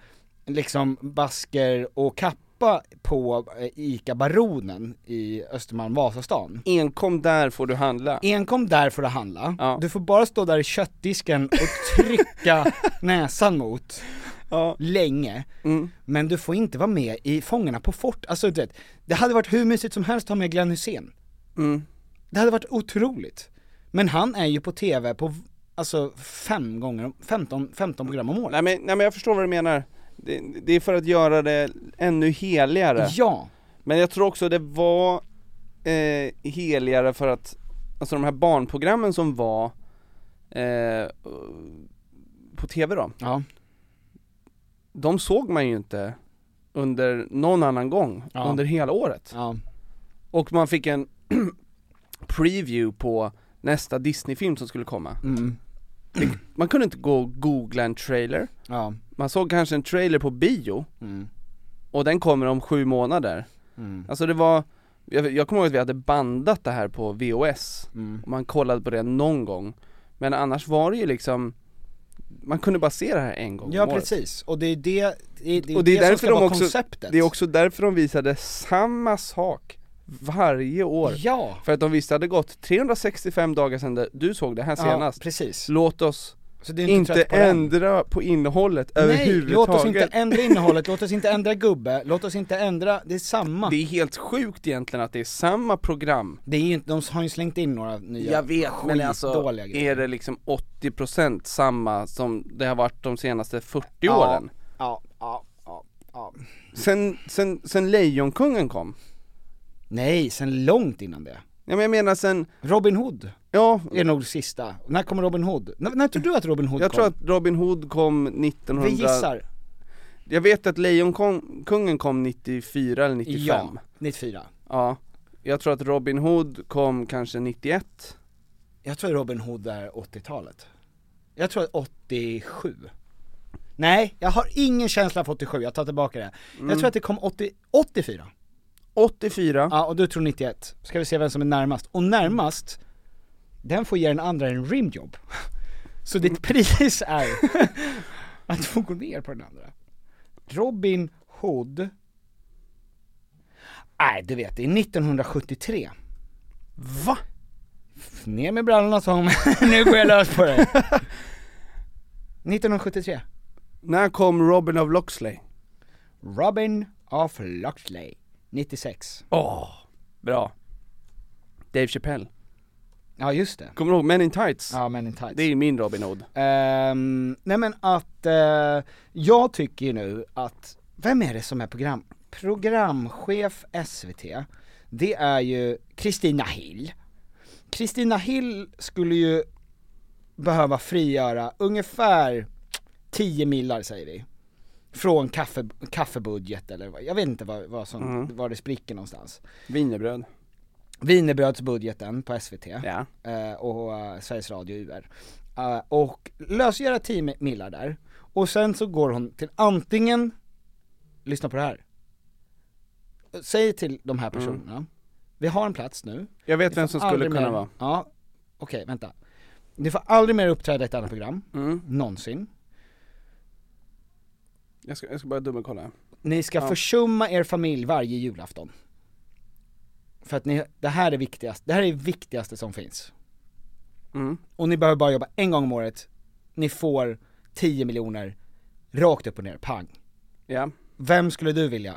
C: liksom basker och kappa på eh, ICA Baronen i Östermalm, Vasastan.
B: Enkom där får du handla
C: Enkom där får du handla,
B: Ja.
C: du får bara stå där i köttdisken och
B: [LAUGHS]
C: trycka näsan mot
B: Ja. Mm.
C: länge, men du får inte vara med i Fångarna på fort, alltså du vet, det hade varit hur mysigt som helst att ha med Glenn Hussein
B: Mm.
C: Det hade varit otroligt, men han är ju på TV på, v- alltså fem gånger, 15, 15 program om året
B: Nej men, nej men jag förstår vad du menar, det, det är för att göra det ännu heligare
C: Ja,
B: Men jag tror också det var eh, heligare för att, alltså de här barnprogrammen som var eh, på tv då,
C: ja,
B: de såg man ju inte under någon annan gång
C: Ja.
B: under hela året.
C: ja,
B: Och man fick en [CLEARS THROAT] preview på nästa Disney-film som skulle komma.
C: mm,
B: Man kunde inte gå och googla en trailer,
C: ja,
B: man såg kanske en trailer på bio
C: mm,
B: och den kommer om sju månader.
C: mm.
B: Alltså det var, jag, jag kommer ihåg att vi hade bandat det här på VOS,
C: Mm.
B: och man kollade på det någon gång Men annars var det ju liksom, man kunde bara se det här en gång
C: Ja
B: om året.
C: precis, och det är det, det, är- det, är
B: Och det
C: det
B: är
C: som
B: därför
C: ska
B: de
C: vara
B: också-
C: konceptet
B: Det är också därför de visade samma sak varje år
C: Ja!
B: För att de visste att det hade gått 365 dagar sedan det- du såg det här senast
C: Ja, precis.
B: Låt oss
C: Så det är
B: inte,
C: trött på den.
B: ändra på innehållet
C: Nej,
B: överhuvudtaget
C: låt oss inte ändra innehållet, låt oss inte ändra gubbe, låt oss inte ändra, det är samma.
B: Det
C: Det,
B: är helt sjukt egentligen att det är samma program
C: är ju inte, de har ju slängt in några nya
B: Jag vet, men alltså
C: skitdåliga grejer.
B: är det liksom 80% samma som det har varit de senaste 40 åren?
C: Ja, ja, ja, ja.
B: Sen, sen, sen Lejonkungen kom?
C: Nej, sen långt innan det.
B: Ja men jag menar sen,
C: Robin Hood
B: ja,
C: är nog det sista. När kom Robin Hood? När, när tror du att Robin Hood
B: jag
C: kom?
B: tror att Robin Hood kom 1900
C: Vi gissar.
B: Jag vet att Lejonkungen kom 94 eller 95
C: Ja, 94.
B: Ja. Jag tror att Robin Hood kom kanske 91
C: Jag tror Robin Hood är 80-talet. Jag tror att 87. Nej, jag har ingen känsla för 87, jag tar tillbaka det. Jag
B: Mm.
C: tror att det kom 80, 84.
B: 84
C: Ja, och du tror 91. Ska vi se vem som är närmast. Och närmast, den får ge den andra en rimjobb. Så ditt pris är att få gå ner på den andra. Robin Hood. Nej, du vet, det är 1973.
B: Va?
C: Ner med brallorna Tom, [LAUGHS] nu går jag lös på dig. 1973.
B: När kom Robin of Loxley?
C: Robin of Loxley. 96.
B: Åh, bra Dave Chappelle
C: Ja, just det.
B: Kommer du ihåg Men in Tights?
C: Ja, Men in Tights.
B: Det är ju min Robin Hood
C: Ehm, nej men att, eh, jag tycker ju nu att, vem är det som är program, programchef SVT? Det är ju Kristina Hill. Kristina Hill skulle ju behöva frigöra ungefär 10 millar säger vi. Från kaffe, kaffebudget eller vad, jag vet inte vad, vad som, var det spricker någonstans. [LAUGHS]
B: Wienerbröd
C: Wienerbrödsbudgeten på SVT
B: Ja
C: eh, och eh, Sveriges Radio UR. Eh, och lösgöra 10 mi- millar där, och sen så går hon till antingen, lyssna på det här, säg till de här personerna, vi har en plats nu.
B: Jag vet
C: Ni
B: vem
C: får
B: Mm. som skulle
C: Alltså, aldrig
B: kunna
C: mer,
B: vara
C: Ja, okej vänta. Ni får aldrig mer uppträda i ett annat program,
B: Mm.
C: någonsin.
B: jag ska, jag ska bara dubbelkolla
C: Ni ska försumma er familj varje julafton. För att ni, det här är viktigast, det här är det viktigaste som finns.
B: Mm.
C: Och ni behöver bara jobba en gång om året, ni får 10 miljoner, rakt upp och ner, pang.
B: Ja,
C: Vem skulle du vilja?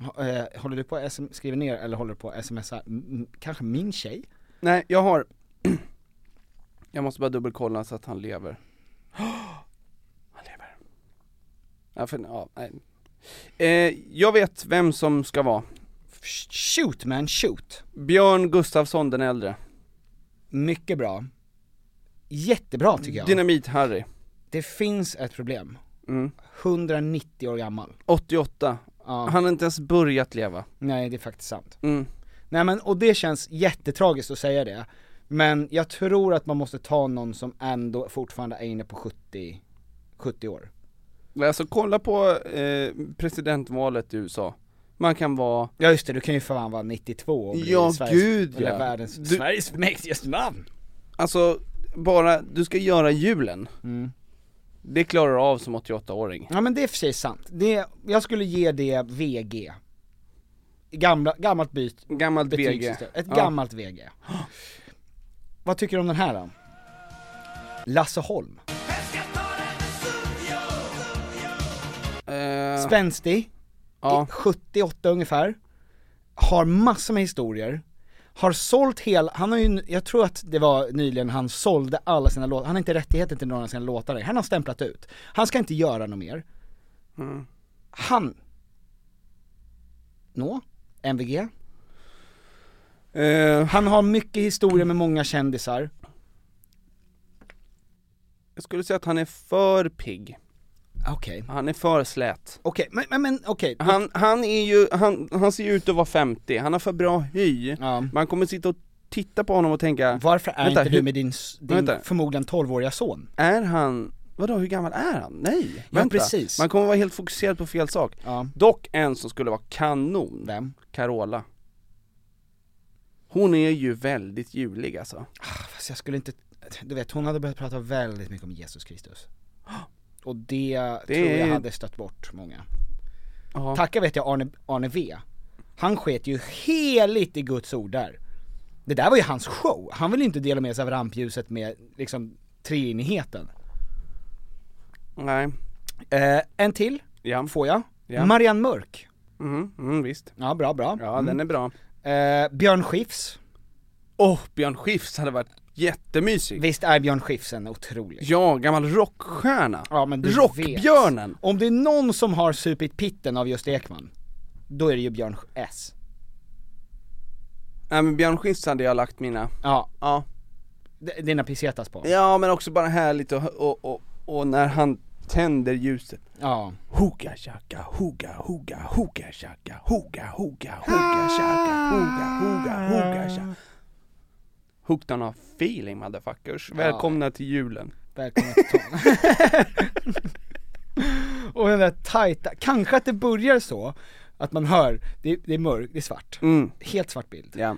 C: Ha- eh, Håller du på att sm- skriva ner eller håller du på att smsa, M- m- kanske min tjej?
B: nej jag har [CLEARS THROAT] Jag måste bara dubbelkolla så att
C: [GASPS]
B: han lever Han lever Ja, för, ja, nej. Eh, jag vet vem som ska vara
C: Sh- Shoot man, shoot!
B: Björn Gustafsson den äldre
C: Mycket bra. Jättebra tycker jag.
B: Dynamit-Harry
C: Det finns ett problem.
B: Mm.
C: 190 år gammal.
B: 88
C: Ja.
B: Han har inte ens börjat leva
C: Nej det är faktiskt sant.
B: mm.
C: Nej men och det känns jättetragiskt att säga det, men jag tror att man måste ta någon som ändå fortfarande är inne på 70, 70 år.
B: Alltså kolla på eh, presidentvalet i USA Man kan vara
C: Ja just det, du kan ju för fan vara 92 och bli
B: Ja,
C: Sveriges,
B: gud,
C: eller
B: ja.
C: världens,
B: Du-
C: Sveriges mäktigaste man!
B: Alltså, bara, du ska göra julen
C: Mm.
B: Det klarar du av som 88-åring
C: Ja men det är i och för sig sant, det, jag skulle ge det VG. Gamla, gammalt byt,
B: Gammalt BG
C: betygssystem, ett gammalt VG. [GASPS] Vad tycker du om den här då? Lasse Holm,
B: eh,
C: spänstig,
B: ja.
C: 78 ungefär, har massor med historier, har sålt hela, han har ju, jag tror att det var nyligen han sålde alla sina låtar, han har inte rättigheten till några av sina låtar längre. han har stämplat ut. Han ska inte göra något mer.
B: Mm.
C: Han, nå, MVG,
B: eh,
C: han har mycket historia med många kändisar,
B: Jag skulle säga att han är för pigg
C: okej,
B: Han är för slät
C: okej, men, men, men okej,
B: han, han är ju, han, han ser ju ut att vara 50, han har för bra hy
C: ja.
B: Man kommer sitta och titta på honom och tänka,
C: varför är
B: Ah. Vänta,
C: inte du
B: hur-
C: med din, s- din
B: Vänta.
C: förmodligen 12-åriga son?
B: är han, vadå hur gammal är han? Nej,
C: Ja, precis.
B: Man kommer vara helt fokuserad på fel sak
C: Ja.
B: Dock en som skulle vara kanon,
C: Vem?
B: Carola Hon är ju väldigt julig alltså.
C: Fast jag skulle inte, du vet hon hade börjat prata väldigt mycket om Jesus
B: [GASPS]
C: Kristus. Och det, tror jag
B: är-
C: hade stött bort många.
B: Ja.
C: Tacka vet jag Arne, Arne V. Han sket ju heligt i Guds ord där. Det där var ju hans show, han ville inte dela med sig av rampljuset med liksom treenigheten.
B: Nej.
C: Eh, en till,
B: Ja.
C: får jag.
B: Ja.
C: Marianne Mörk.
B: Mm, mm, visst.
C: Ja, bra bra. Mm.
B: Ja, den är bra.
C: Eh, Björn Skifs.
B: Åh, Björn Skifs hade varit jättemysig.
C: Visst är Björn Skifs en otrolig
B: Ja, gammal rockstjärna.
C: Ja, men du
B: Rockbjörnen.
C: Vet. Om det är någon som har supit pitten av just Ekman, då är det ju Björn S.
B: Nej men Björn Skifs hade jag lagt mina,
C: Ja,
B: ja.
C: d- dina pesetas på.
B: Ja men också bara härligt och, och, och, och när han tänder ljuset.
C: Ja.
B: Hoga chaka, hoga, hoga, hoga chaka, hoga, hoga, hoga chaka, hoga, hoga, hoga chaka. Hooked on a feeling motherfuckers. Välkomna till julen.
C: Välkommen till
B: [LAUGHS]
C: Tom. Och den där tajta, kanske att det börjar så, att man hör, det, det är mörkt, det är svart.
B: Mm.
C: Helt svart bild.
B: Ja.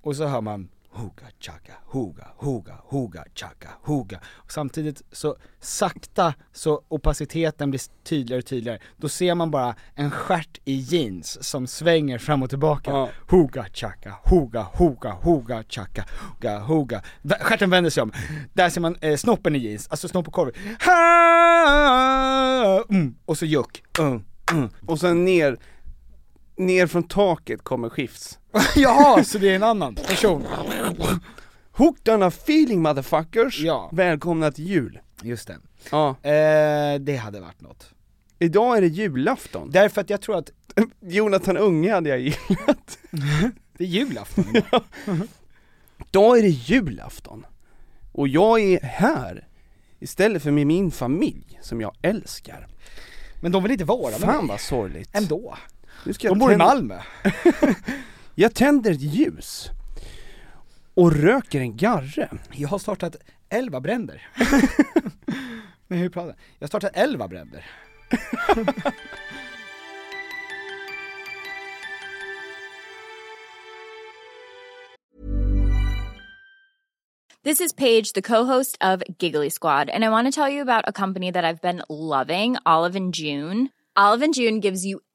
C: Och så hör man Hoga chaka, hoga, hoga, hoga chaka, hoga. Och samtidigt så sakta så opaciteten blir tydligare och tydligare. Då ser man bara en stjärt i jeans som svänger fram och tillbaka.
B: Ja.
C: Hoga chaka, hoga, hoga, hoga chaka, hoga, hoga. Vä- Stjärten vänder sig om. Där ser man eh, snoppen i jeans, alltså snopp och korv. Ha! Mm. Och så juck. Mm. [LAUGHS] Mm.
B: Och sen ner, ner från taket kommer Skifs.
C: Jaha, så det är en annan person.
B: Hooked on a feeling motherfuckers.
C: Ja.
B: Välkomna till jul.
C: Just det.
B: Ja.
C: Eh, det hade varit något.
B: Idag är det julafton.
C: Därför att jag tror att [LAUGHS]
B: Jonathan Unge hade jag gillat.
C: det är [LAUGHS] julafton idag.
B: [LAUGHS] Idag är det julafton. Och jag är här. Istället för med min familj, som jag älskar.
C: Men de vill inte vara med
B: Fan
C: mig.
B: vad sorgligt.
C: Ändå.
B: Nu ska jag
C: De bor i
B: tända-
C: Malmö.
B: Jag tänder ett ljus. Och röker en garre.
C: [LAUGHS] Jag har startat elva [LAUGHS] bränder. Men hur pratar jag? Jag har startat elva bränder.
F: This is Paige, the co-host of Giggly Squad, and I want to tell you about a company that I've been loving, Olive and June. Olive and June gives you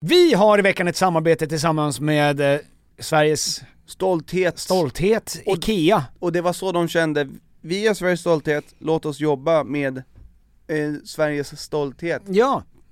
G: Vi har i veckan ett samarbete tillsammans med eh, Sveriges
B: Stolthet.
G: stolthet, IKEA.
B: Och det var så de kände, vi är Sveriges stolthet, låt oss jobba med eh, Sveriges stolthet.
G: Ja,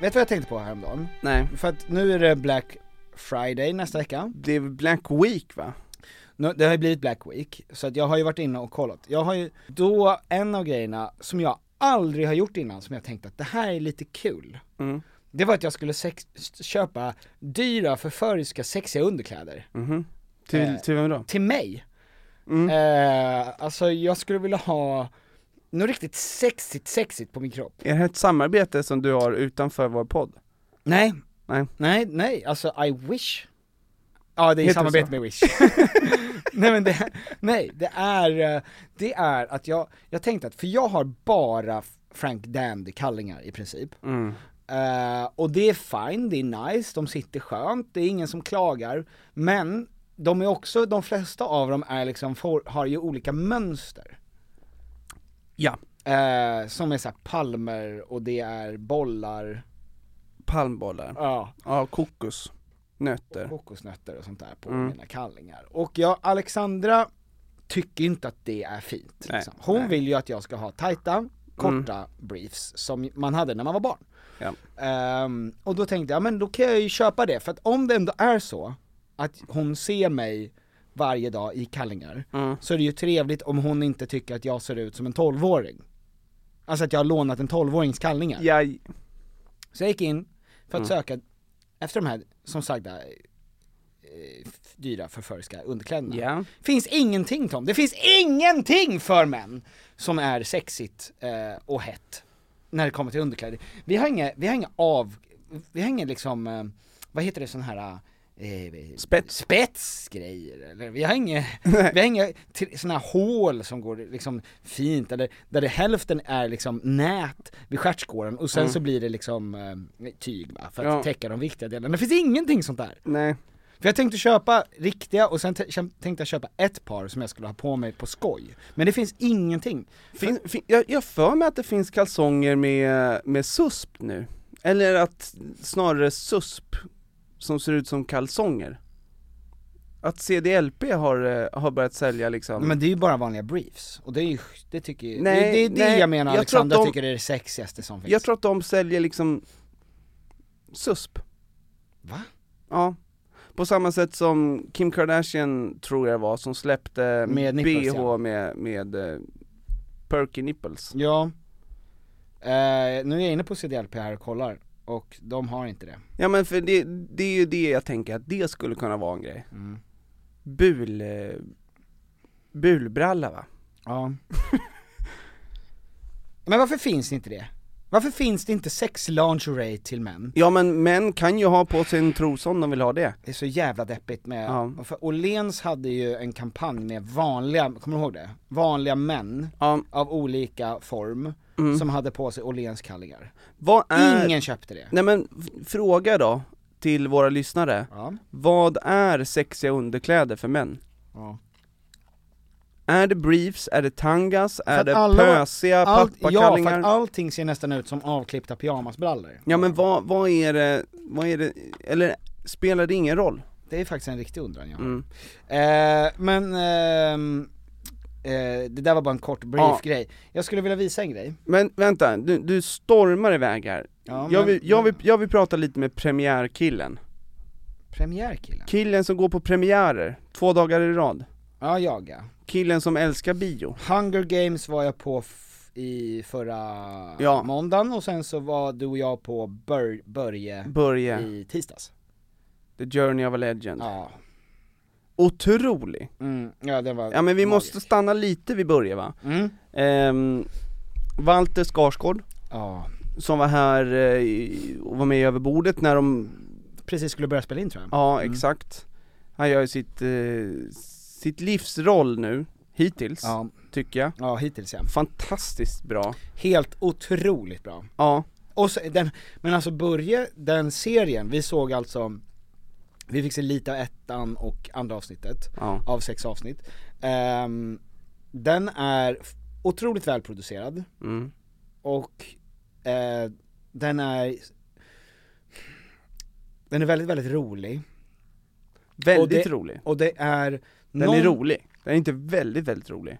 C: Vet du vad jag tänkte på häromdagen?
B: Nej.
C: För att nu är det Black Friday nästa vecka.
B: Det är Black Week va?
C: Nu, det har ju blivit Black Week, så att jag har ju varit inne och kollat. Jag har ju, då en av grejerna som jag aldrig har gjort innan, som jag tänkte att det här är lite kul.
B: Mm.
C: Det var att jag skulle sex, köpa dyra förföriska sexiga underkläder.
B: Mhm. Till,
C: Eh,
B: till vem då?
C: Till mig. Eh, alltså jag skulle vilja ha något riktigt sexigt, sexigt på min kropp.
B: Är det här ett samarbete som du har utanför vår podd?
C: Nej.
B: Nej.
C: Nej, nej, alltså I wish Ja det är i
B: Heter det
C: samarbete
B: så?
C: med Wish [LAUGHS] Nej men det, nej det är, eh, det är att jag, jag tänkte att, för jag har bara Frank Dandy kallingar i princip
B: Mm.
C: Eh, och det är fine, det är nice, de sitter skönt, det är ingen som klagar. Men de är också, de flesta av dem är liksom, får, har ju olika mönster.
B: Ja.
C: Eh, som är såhär palmer och det är bollar,
B: Palmbollar.
C: ja,
B: Ja, kokos. Nötter.
C: kokosnötter och sånt där på
B: Mm.
C: mina kallingar. Och jag, Alexandra tycker inte att det är fint.
B: Nej,
C: Liksom. Hon
B: nej. Mm.
C: vill ju att jag ska ha tajta, korta briefs som man hade när man var barn.
B: Ja.
C: Ehm, och då tänkte jag, men då kan jag ju köpa det, för att om det ändå är så att hon ser mig varje dag i kallingar,
B: Mm.
C: så är det ju trevligt om hon inte tycker att jag ser ut som en 12-åring. Alltså att jag har lånat en 12-årings kallingar.
B: Jag,
C: Så jag gick in för att
B: Mm.
C: söka efter de här, som sagda, eh, f- dyra förföriska underkläderna.
B: ja.
C: Finns ingenting Tom, det finns ingenting för män som är sexigt eh, och hett när det kommer till underkläder. Vi har inga, vi har inga av, vi har inga liksom, eh, vad heter det sån här eh,
B: Spets.
C: spetsgrejer eller vi har
B: [LAUGHS]
C: inga, vi har inga till- såna här hål som går liksom fint eller där det hälften är liksom nät vid stjärtskåren och sen
B: Mm.
C: så blir det liksom eh, tyg va, för att
B: Ja.
C: täcka de viktiga delarna. Det finns ingenting sånt där.
B: Nej.
C: För jag tänkte köpa riktiga och sen t- tänkte jag köpa ett par som jag skulle ha på mig på skoj. Men det finns ingenting.
B: Fin, fin, jag, jag för mig att det finns kalsonger med, med susp nu. Eller att snarare susp som ser ut som kalsonger. Att CDLP har, eh, har börjat sälja liksom.
C: Men det är ju bara vanliga briefs. Och det är ju, det tycker ju,
B: Nej,
C: det, det är det
B: nej,
C: jag menar
B: jag tror
C: Alexandra
B: att de-
C: tycker är det sexigaste som finns.
B: jag tror att de säljer liksom susp.
C: Va?
B: Ja. På samma sätt som Kim Kardashian tror jag var som släppte
C: Med nipples,
B: BH
C: ja.
B: med, med eh, perky nipples.
C: Ja. Eh, nu är jag inne på CDLP här och kollar. Och de har inte det.
B: Ja men för det, det är ju det jag tänker att det skulle kunna vara en grej.
C: Mm.
B: Bul... eh, Bulbralla va?
C: Ja. [LAUGHS] Men varför finns inte det? Varför finns det inte sex lingerie till män?
B: Ja men män kan ju ha på sig en trosa om de vill ha det.
C: Det är så jävla deppigt med,
B: Ja.
C: och för Åhléns hade ju en kampanj med vanliga, kommer du ihåg det? Vanliga män
B: Ja,
C: av olika form
B: mm.
C: som hade på sig Åhléns kallingar.
B: Vad är...
C: Ingen köpte det.
B: Nej men f- fråga då till våra lyssnare.
C: Ja.
B: Vad är sexiga underkläder för män?
C: Ja.
B: Är det briefs, är det tangas, är
C: att
B: det
C: alla-
B: pösiga
C: Allt, ja, för
B: pappakallingar?
C: att allting ser nästan ut som avklippta pyjamasbrallor.
B: Ja men vad, vad är det, vad är det, eller spelar det ingen roll?
C: Det är faktiskt en riktig undran jag har.
B: Mm.
C: Eh, men, ehm, eh, det där var bara en kort brief
B: Ja.
C: grej. Jag skulle vilja visa en grej.
B: Men vänta, du, du stormar iväg här.
C: Ja,
B: jag,
C: men-
B: vill, jag, vill, jag vill prata lite med premiärkillen.
C: Premiärkillen?
B: Killen som går på premiärer, två dagar i rad.
C: Ja, jag ja.
B: Killen som älskar bio.
C: Hunger Games var jag på f- i förra
B: Ja.
C: måndagen och sen så var du och jag på Bör- Börje
B: Börje,
C: i tisdags.
B: the journey of a legend.
C: Ja.
B: otrolig.
C: Mm, ja, det var
B: Ja men vi måste stanna lite vid början va?
C: Mm.
B: Ehm, Walter Skarsgård,
C: Ja.
B: som var här eh, i- och var med över bordet när de
C: Mm. Precis skulle börja spela in tror jag.
B: Ja,
C: Mm.
B: exakt. Han gör ju sitt, eh, sitt livsroll nu, hittills,
C: Ja.
B: tycker jag.
C: Ja, hittills ja.
B: Fantastiskt bra.
C: Helt otroligt bra.
B: Ja.
C: Och så, den, men alltså Börje, den serien, vi såg alltså, vi fick se lite av ettan och andra avsnittet,
B: Ja.
C: av sex avsnitt. Ehm, den är f- otroligt välproducerad
B: Mm.
C: och eh, den är, den är väldigt, väldigt rolig.
B: Väldigt
C: Och det-
B: rolig.
C: Och det är
B: Den är rolig. Den är inte väldigt, väldigt rolig.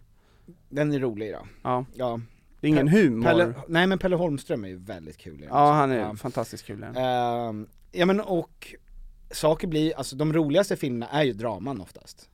C: Den är rolig då.
B: Ja.
C: ja.
B: Det är ingen
C: Pe-
B: humor.
C: Pelle, nej men Pelle Holmström är ju väldigt kul i den
B: Ja,
C: också.
B: han är
C: Ja.
B: fantastiskt kul. i den.
C: Ehm, ja men och saker blir, alltså de roligaste filmerna är ju draman oftast.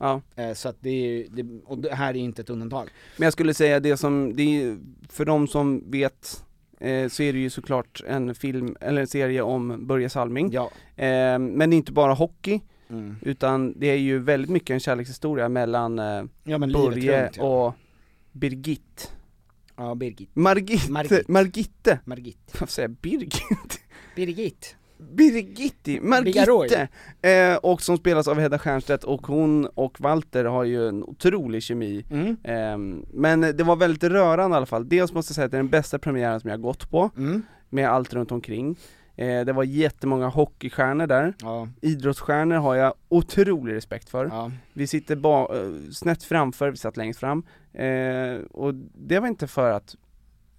B: Ja.
C: Eh, så att det är ju, det, och det här är inte ett undantag.
B: Men jag skulle säga det som, det är, ju- för de som vet eh, så är det ju såklart en film, eller en serie om Börje Salming.
C: Ja.
B: Eh, men det är inte bara hockey,
C: Mm.
B: utan det är ju väldigt mycket en kärlekshistoria mellan eh,
C: Ja, men livet
B: Börje
C: runt, ja.
B: och Birgit.
C: Ja, Birgit.
B: Margit,
C: Margit.
B: Margitte.
C: Margit.
B: Varför säger jag Birgit?
C: Birgit.
B: Birgitti,
C: Bigaroy.
B: Margitte! Eh, och som spelas av Hedda Stiernstedt och hon och Walter har ju en otrolig kemi
C: Mm.
B: Ehm, Men det var väldigt rörande i alla fall, dels måste jag säga att det är den bästa premiären som jag har gått på
C: Mm.
B: Med allt runt omkring eh, Det var jättemånga hockeystjärnor där
C: Ja.
B: Idrottsstjärnor har jag otrolig respekt för Vi sitter ba- eh, snett framför, vi satt längst fram eh, Och det var inte för att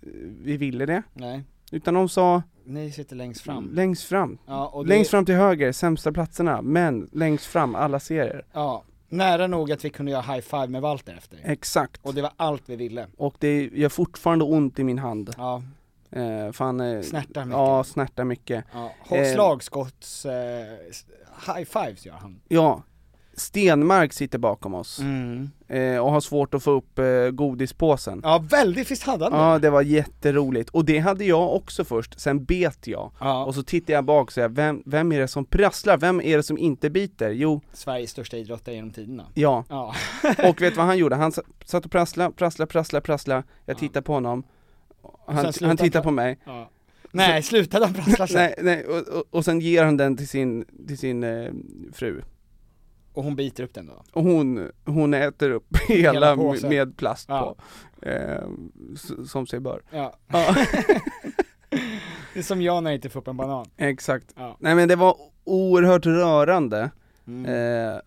B: eh, vi ville det
C: Nej.
B: Utan de sa
C: Ni sitter längst fram.
B: Längst fram.
C: Ja, och det-
B: Mm. längst fram till höger, sämsta platserna, men längst fram, alla serier.
C: Ja, nära nog att vi kunde göra high five med Walter efter.
B: Exakt.
C: Och det var allt vi ville.
B: Och det gör fortfarande ont i min hand.
C: Ja.
B: Eh, fan, eh,
C: Snärtar mycket.
B: Ja, snärtar mycket.
C: Ja,
B: Eh,
C: slagskotts, eh, s- high fives gör han.
B: ja. Stenmark sitter bakom oss.
C: Mm.
B: Eh, och har svårt att få upp eh, godispåsen.
C: Ja väldigt, visst hade han det?
B: Ja det var jätteroligt, och det hade jag också först, sen bet jag. Och så tittade jag bak och sa, vem, vem är det som prasslar? Vem är det som inte biter? Jo,
C: Sveriges största idrottare genom tiderna.
B: Ja.
C: Ja. [LAUGHS]
B: och vet vad han gjorde? Han sa- satt och prasslade, prasslade, prasslade, prasslade. Jag tittade på honom. Han,
C: slutade
B: han tittade
C: han pra-
B: på mig.
C: Ja. Nej, slutade han prassla sen?
B: Nej, nej och, och, och sen ger han den till sin, till sin eh, fru.
C: Och hon biter upp den då?
B: Och hon, hon äter upp [LAUGHS] hela,
C: Hela
B: m-
C: påsen.
B: med plast
C: Ja.
B: på. Eh, s- som sig bör.
C: Ja. [LAUGHS] det är som jag när jag inte får upp en banan.
B: Exakt.
C: Ja.
B: Nej men det var oerhört rörande.
C: Mm.
B: Eh,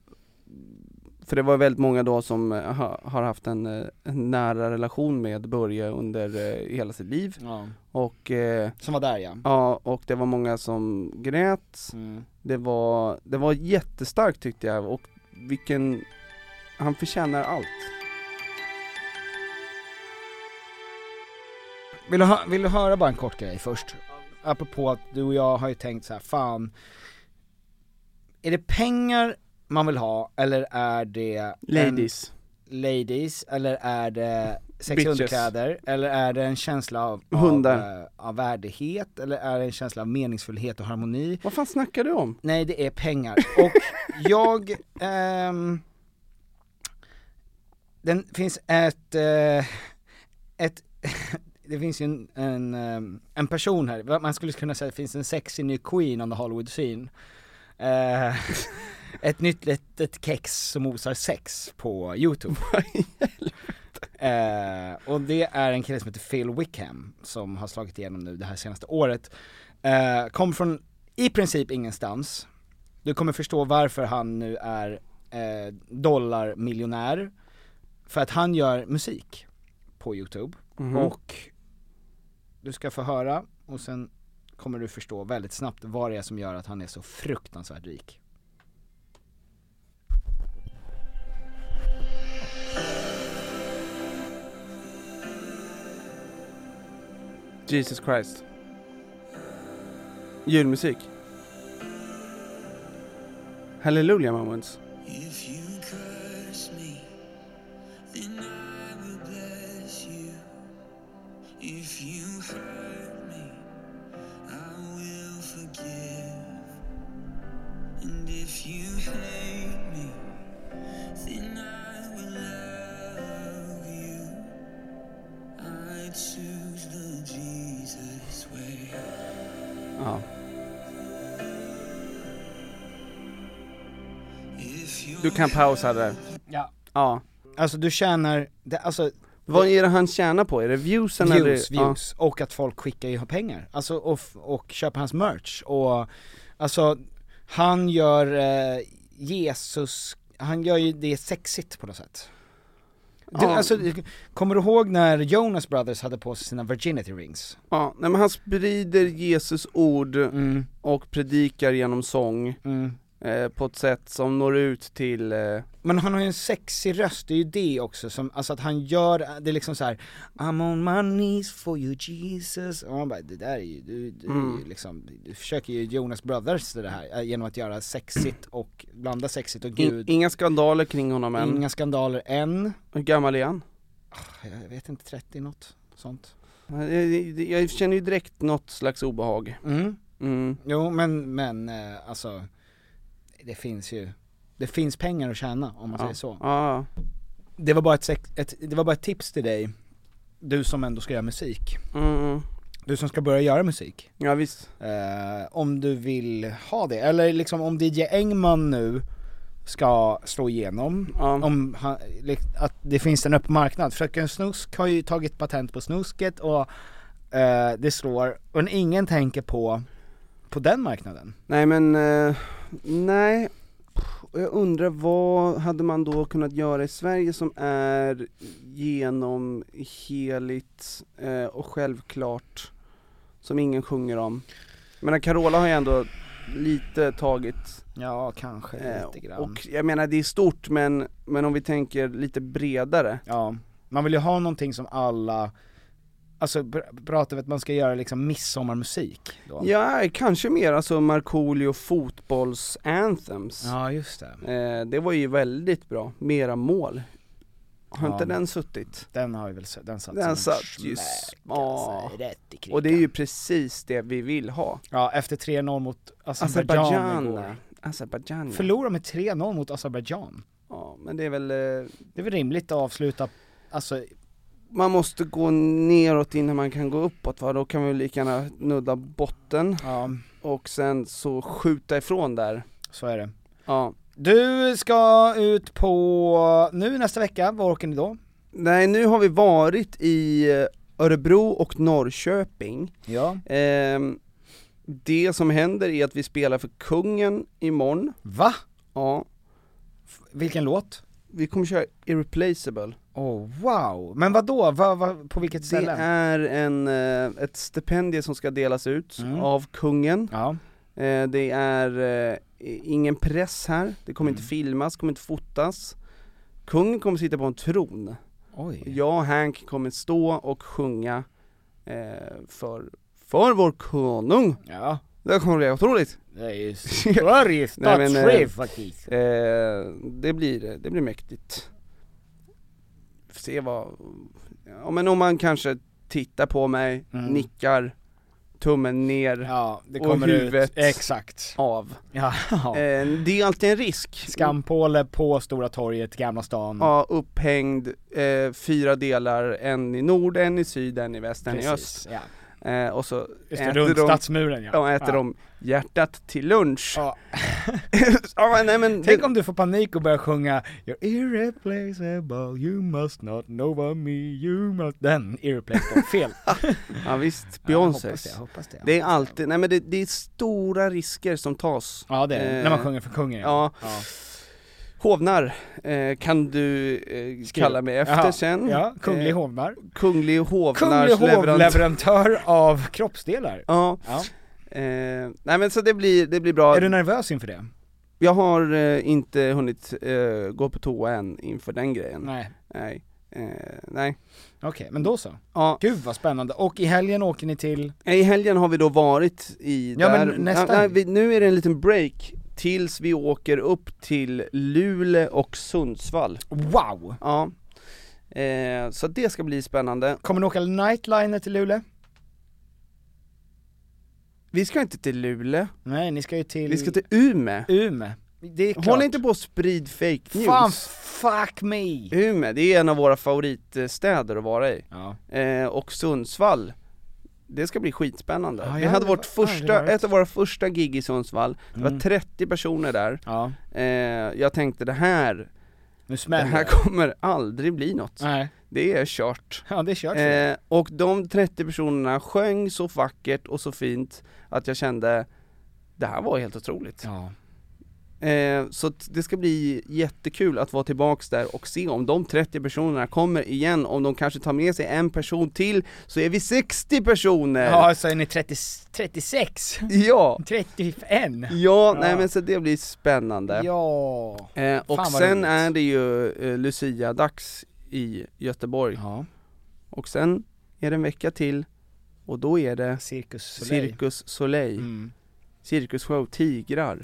B: för det var väldigt många då som eh, ha, har haft en, eh, en nära relation med Börje under eh, hela sitt liv.
C: Ja.
B: Och, eh,
C: som var där ja.
B: Ja, och det var många som grät.
C: Mm.
B: Det, var, det var jättestarkt tyckte jag och vilken, han förtjänar allt.
C: Vill du, hö- vill du höra bara en kort grej först? Apropå att du och jag har ju tänkt så här, fan Är det pengar man vill ha eller är det en-
B: Ladies.
C: Ladies, eller är det sex i
B: Bitches.
C: underkläder, eller är det en känsla av, av,
B: Hundar.
C: eh, av värdighet, eller är det en känsla av meningsfullhet och harmoni?
B: Vad fan snackar du om?
C: Nej det är pengar, och jag, ehm, den finns ett, eh, ett [LAUGHS] det finns ju en, en, ehm, en person här, man skulle kunna säga att det finns en sexy ny queen on the Hollywood scene Eh, [LAUGHS] Ett nytt litet kex som osar sex på youtube eh, Och det är en kille som heter Phil Wickham som har slagit igenom nu det här senaste året eh, Kom från i princip ingenstans Du kommer förstå varför han nu är eh, dollarmiljonär För att han gör musik på youtube
B: Mhm.
C: och du ska få höra och sen kommer du förstå väldigt snabbt vad det är som gör att han är så fruktansvärt rik.
B: Jesus Christ. Julmusik. Hallelujah moments.
F: If you curse me, then I will bless you. If you hurt me, I will forgive. And if you hate me,
B: Ja. Du kan pausa där.
C: Ja.
B: Ja.
C: Alltså du tjänar, det, alltså
B: Vad är det han tjänar på? Är det viewsen
C: views,
B: eller?
C: views, och att folk skickar ju pengar, alltså och, f- och köper hans merch och, alltså han gör eh, Jesus, han gör ju det sexigt på något sätt du,
B: Ja.
C: alltså, kommer du ihåg när Jonas Brothers hade på sig sina virginity rings?
B: Ja, nej men han sprider Jesus ord
C: Mm.
B: och predikar genom sång eh, på ett sätt som når ut till eh,
C: Men han har ju en sexig röst, det är ju det också som, alltså att han gör, det är liksom så här: I'm on my knees for you Jesus, och man bara, det där är ju, du, du, är ju
B: Mm.
C: liksom, du försöker ju Jonas Brothers det här, eh, genom att göra sexigt och, blanda sexigt och
B: in,
C: gud
B: inga skandaler kring honom än.
C: Inga skandaler än.
B: Hur gammal är han?
C: Jag vet inte, 30 något sånt
B: Jag, jag, Eh, jag känner ju direkt något slags obehag.
C: Mm.
B: Mm.
C: Jo men, men eh, alltså, det finns ju, det finns pengar att tjäna om man
B: Ja.
C: säger så
B: Ja,
C: Det var bara ett, sex, ett, det var bara ett tips till dig, du som ändå ska göra musik
B: Mm.
C: Du som ska börja göra musik
B: ja visst.
C: Eh, om du vill ha det, eller liksom om DJ Engman nu ska slå igenom, om han, lik- att det finns en öppen marknad. Fröken Snusk har ju tagit patent på snusket och eh, det slår, men ingen tänker på, på den marknaden.
B: Nej men, eh, nej. Och Jag undrar vad hade man då kunnat göra i Sverige som är genom heligt eh, och självklart, som ingen sjunger om? Men Carola har ju ändå lite tagit
C: Ja, kanske
B: eh,
C: lite grann.
B: och jag menar det är stort men, men om vi tänker lite bredare
C: Ja, man vill ju ha någonting som alla, alltså pr- pratar vi att man ska göra liksom midsommarmusik då?
B: Ja, kanske mer alltså Markoolio fotbolls-anthems
C: Ja, just det.
B: Eh, det var ju väldigt bra, mera mål. Har
C: Ja.
B: inte den suttit?
C: Den har ju väl, s- den satt som en
B: Den satt ju
C: smäck. alltså,
B: ja.
C: rätt i
B: Och det är ju precis det vi vill ha.
C: Ja, efter 3-0 mot Azerbaijan igår.
B: Azerbajdzjan. Azerbajdzjan. ja.
C: Förlora med 3-0 mot Azerbaijan.
B: Ja, men det är väl... eh,
C: Det är väl rimligt att avsluta, alltså,
B: Man måste gå neråt innan man kan gå uppåt va, då kan vi lika gärna nudda botten. Och sen så skjuta ifrån där.
C: så är det.
B: Ja.
C: Du ska ut på, nu nästa vecka, var åker ni då?
B: Nej, nu har vi varit i eh, Örebro och Norrköping.
C: Ja.
B: Ehm, det som händer är att vi spelar för kungen imorgon.
C: Va?
B: Ja.
C: Vilken låt?
B: Vi kommer köra Irreplaceable.
C: Oh wow, men vad då? Va, va, på vilket
B: Det
C: ställe?
B: är en, eh, ett stipendium som ska delas ut av kungen. Eh, Det är eh, ingen press här, det kommer inte filmas, kommer inte fotas. Kungen kommer sitta på en tron.
C: Oj.
B: Jag och Hank kommer stå och sjunga eh, för, för vår konung.
C: Ja.
B: Det kommer bli otroligt.
C: Det är
B: [LAUGHS]
C: ju Sveriges statschef faktiskt.
B: Eh, eh, det, blir, det blir mäktigt. Får Se vad, ja men om man kanske tittar på mig,
C: Mm.
B: nickar, tummen ner
C: Ja, det
B: och
C: kommer ut.
B: huvudet
C: Exakt.
B: av. [LAUGHS]
C: Ja.
B: Eh, det är alltid en risk.
C: Skampåle på Stora torget, Gamla stan.
B: Ja, upphängd, eh, fyra delar, en i nord, en i syd, en i väst, en i
C: Precis,
B: öst.
C: ja.
B: Eh, och så
C: Just det, runt stadsmuren, ja.
B: Ja, äter
C: Ja.
B: de hjärtat till lunch.
C: Ja.
B: men, nej, men,
C: Tänk om du får panik och börjar sjunga You're irreplaceable, you must not know about me, you must... Den, irreplaceable, fel.
B: [LAUGHS] ja visst,
C: Ja, jag hoppas
B: Beyoncé.
C: det, jag hoppas det, jag
B: är alltid, nej men det, det är stora risker som tas.
C: Ja, det är det. När man sjunger för kungen,
B: Eh, Ja.
C: ja.
B: Hovnar eh, kan du eh, kalla mig efter
C: Jaha.
B: sen. Eh,
C: Ja, kunglig hovnar.
B: Kunglig hovnars
C: Kunglig hovleverantör av kroppsdelar.
B: Ja. Eh, nej men så det blir, det blir bra.
C: Är du nervös inför det?
B: Jag har eh, inte hunnit eh, gå på toa än inför den grejen.
C: Nej.
B: Nej. Eh, nej.
C: Okej, men då så.
B: Ja.
C: Gud vad spännande. Och i helgen åker ni till?
B: I helgen har vi då varit i
C: Ja,
B: där,
C: men nästa
B: nej,
C: helg.
B: vi, nu är det en liten break tills vi åker upp till Luleå och Sundsvall.
C: Wow!
B: Ja. Eh, så det ska bli spännande.
C: Kommer ni åka nightliner till Luleå?
B: Vi ska inte till Luleå.
C: Nej, ni ska ju till...
H: Mm.
B: Vi ska till Umeå.
C: Umeå. Det är klart.
B: Håll inte på att sprida fake news.
C: Fan, fuck me!
B: Umeå, det är en av våra favoritstäder att vara i.
C: Ja.
B: Eh, och Sundsvall, Det ska bli skitspännande.
H: Ja,
B: vi
H: jag
B: hade
H: har
B: vårt
H: aldrig
B: första,
H: varit.
B: ett av våra första gig i Sundsvall, det var
H: Mm.
B: 30 personer där. Eh, jag tänkte det här,
C: nu
B: det
C: smäller
B: här
C: det.
B: kommer aldrig bli något. Det är kört.
C: Ja, det är kört.
B: Eh, och de 30 personerna sjöng så vackert och så fint att jag kände, det här var helt otroligt. Eh, så att det ska bli jättekul att vara tillbaks där och se om de 30 personerna kommer igen, om de kanske tar med sig en person till, så är vi 60 personer!
C: Ja, så är ni 30, 36?
B: Ja.
C: 35?
B: Ja, nej men så det blir spännande.
C: Ja.
B: Eh, och
C: Fan vad
B: sen
C: roligt.
B: är det ju eh, Lucia-dags i Göteborg. Och sen är det en vecka till och då är det
C: Cirkus Mm.
B: Soleil, Cirkus, Soleil. Cirkusshow, tigrar,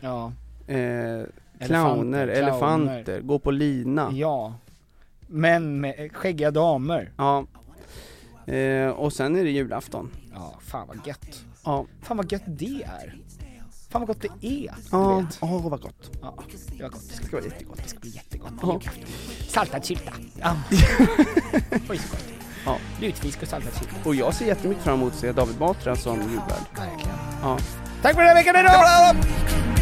B: eh, clowner, elefanter, gå på lina.
C: Ja. Män med skäggiga damer.
B: Ja. Eh, och sen är det julafton.
C: Ja, fan vad gött.
B: Ja.
C: Fan vad gött det är. Fan vad gott det är.
B: Ja.
C: du vet.
B: Åh, vad gott.
C: Ja, det var gott. Det
B: ska vara jättegott.
C: Det ska bli jättegott.
B: Ja.
C: Saltad sylta. [LAUGHS] Ja. Oj, så gott.
B: Ja.
C: Lutfisk och saltad sylta.
B: Och jag ser jättemycket fram emot att se David Batra som julvärd.
C: Verkligen.
B: Ja.
C: Tack för den här veckan idag!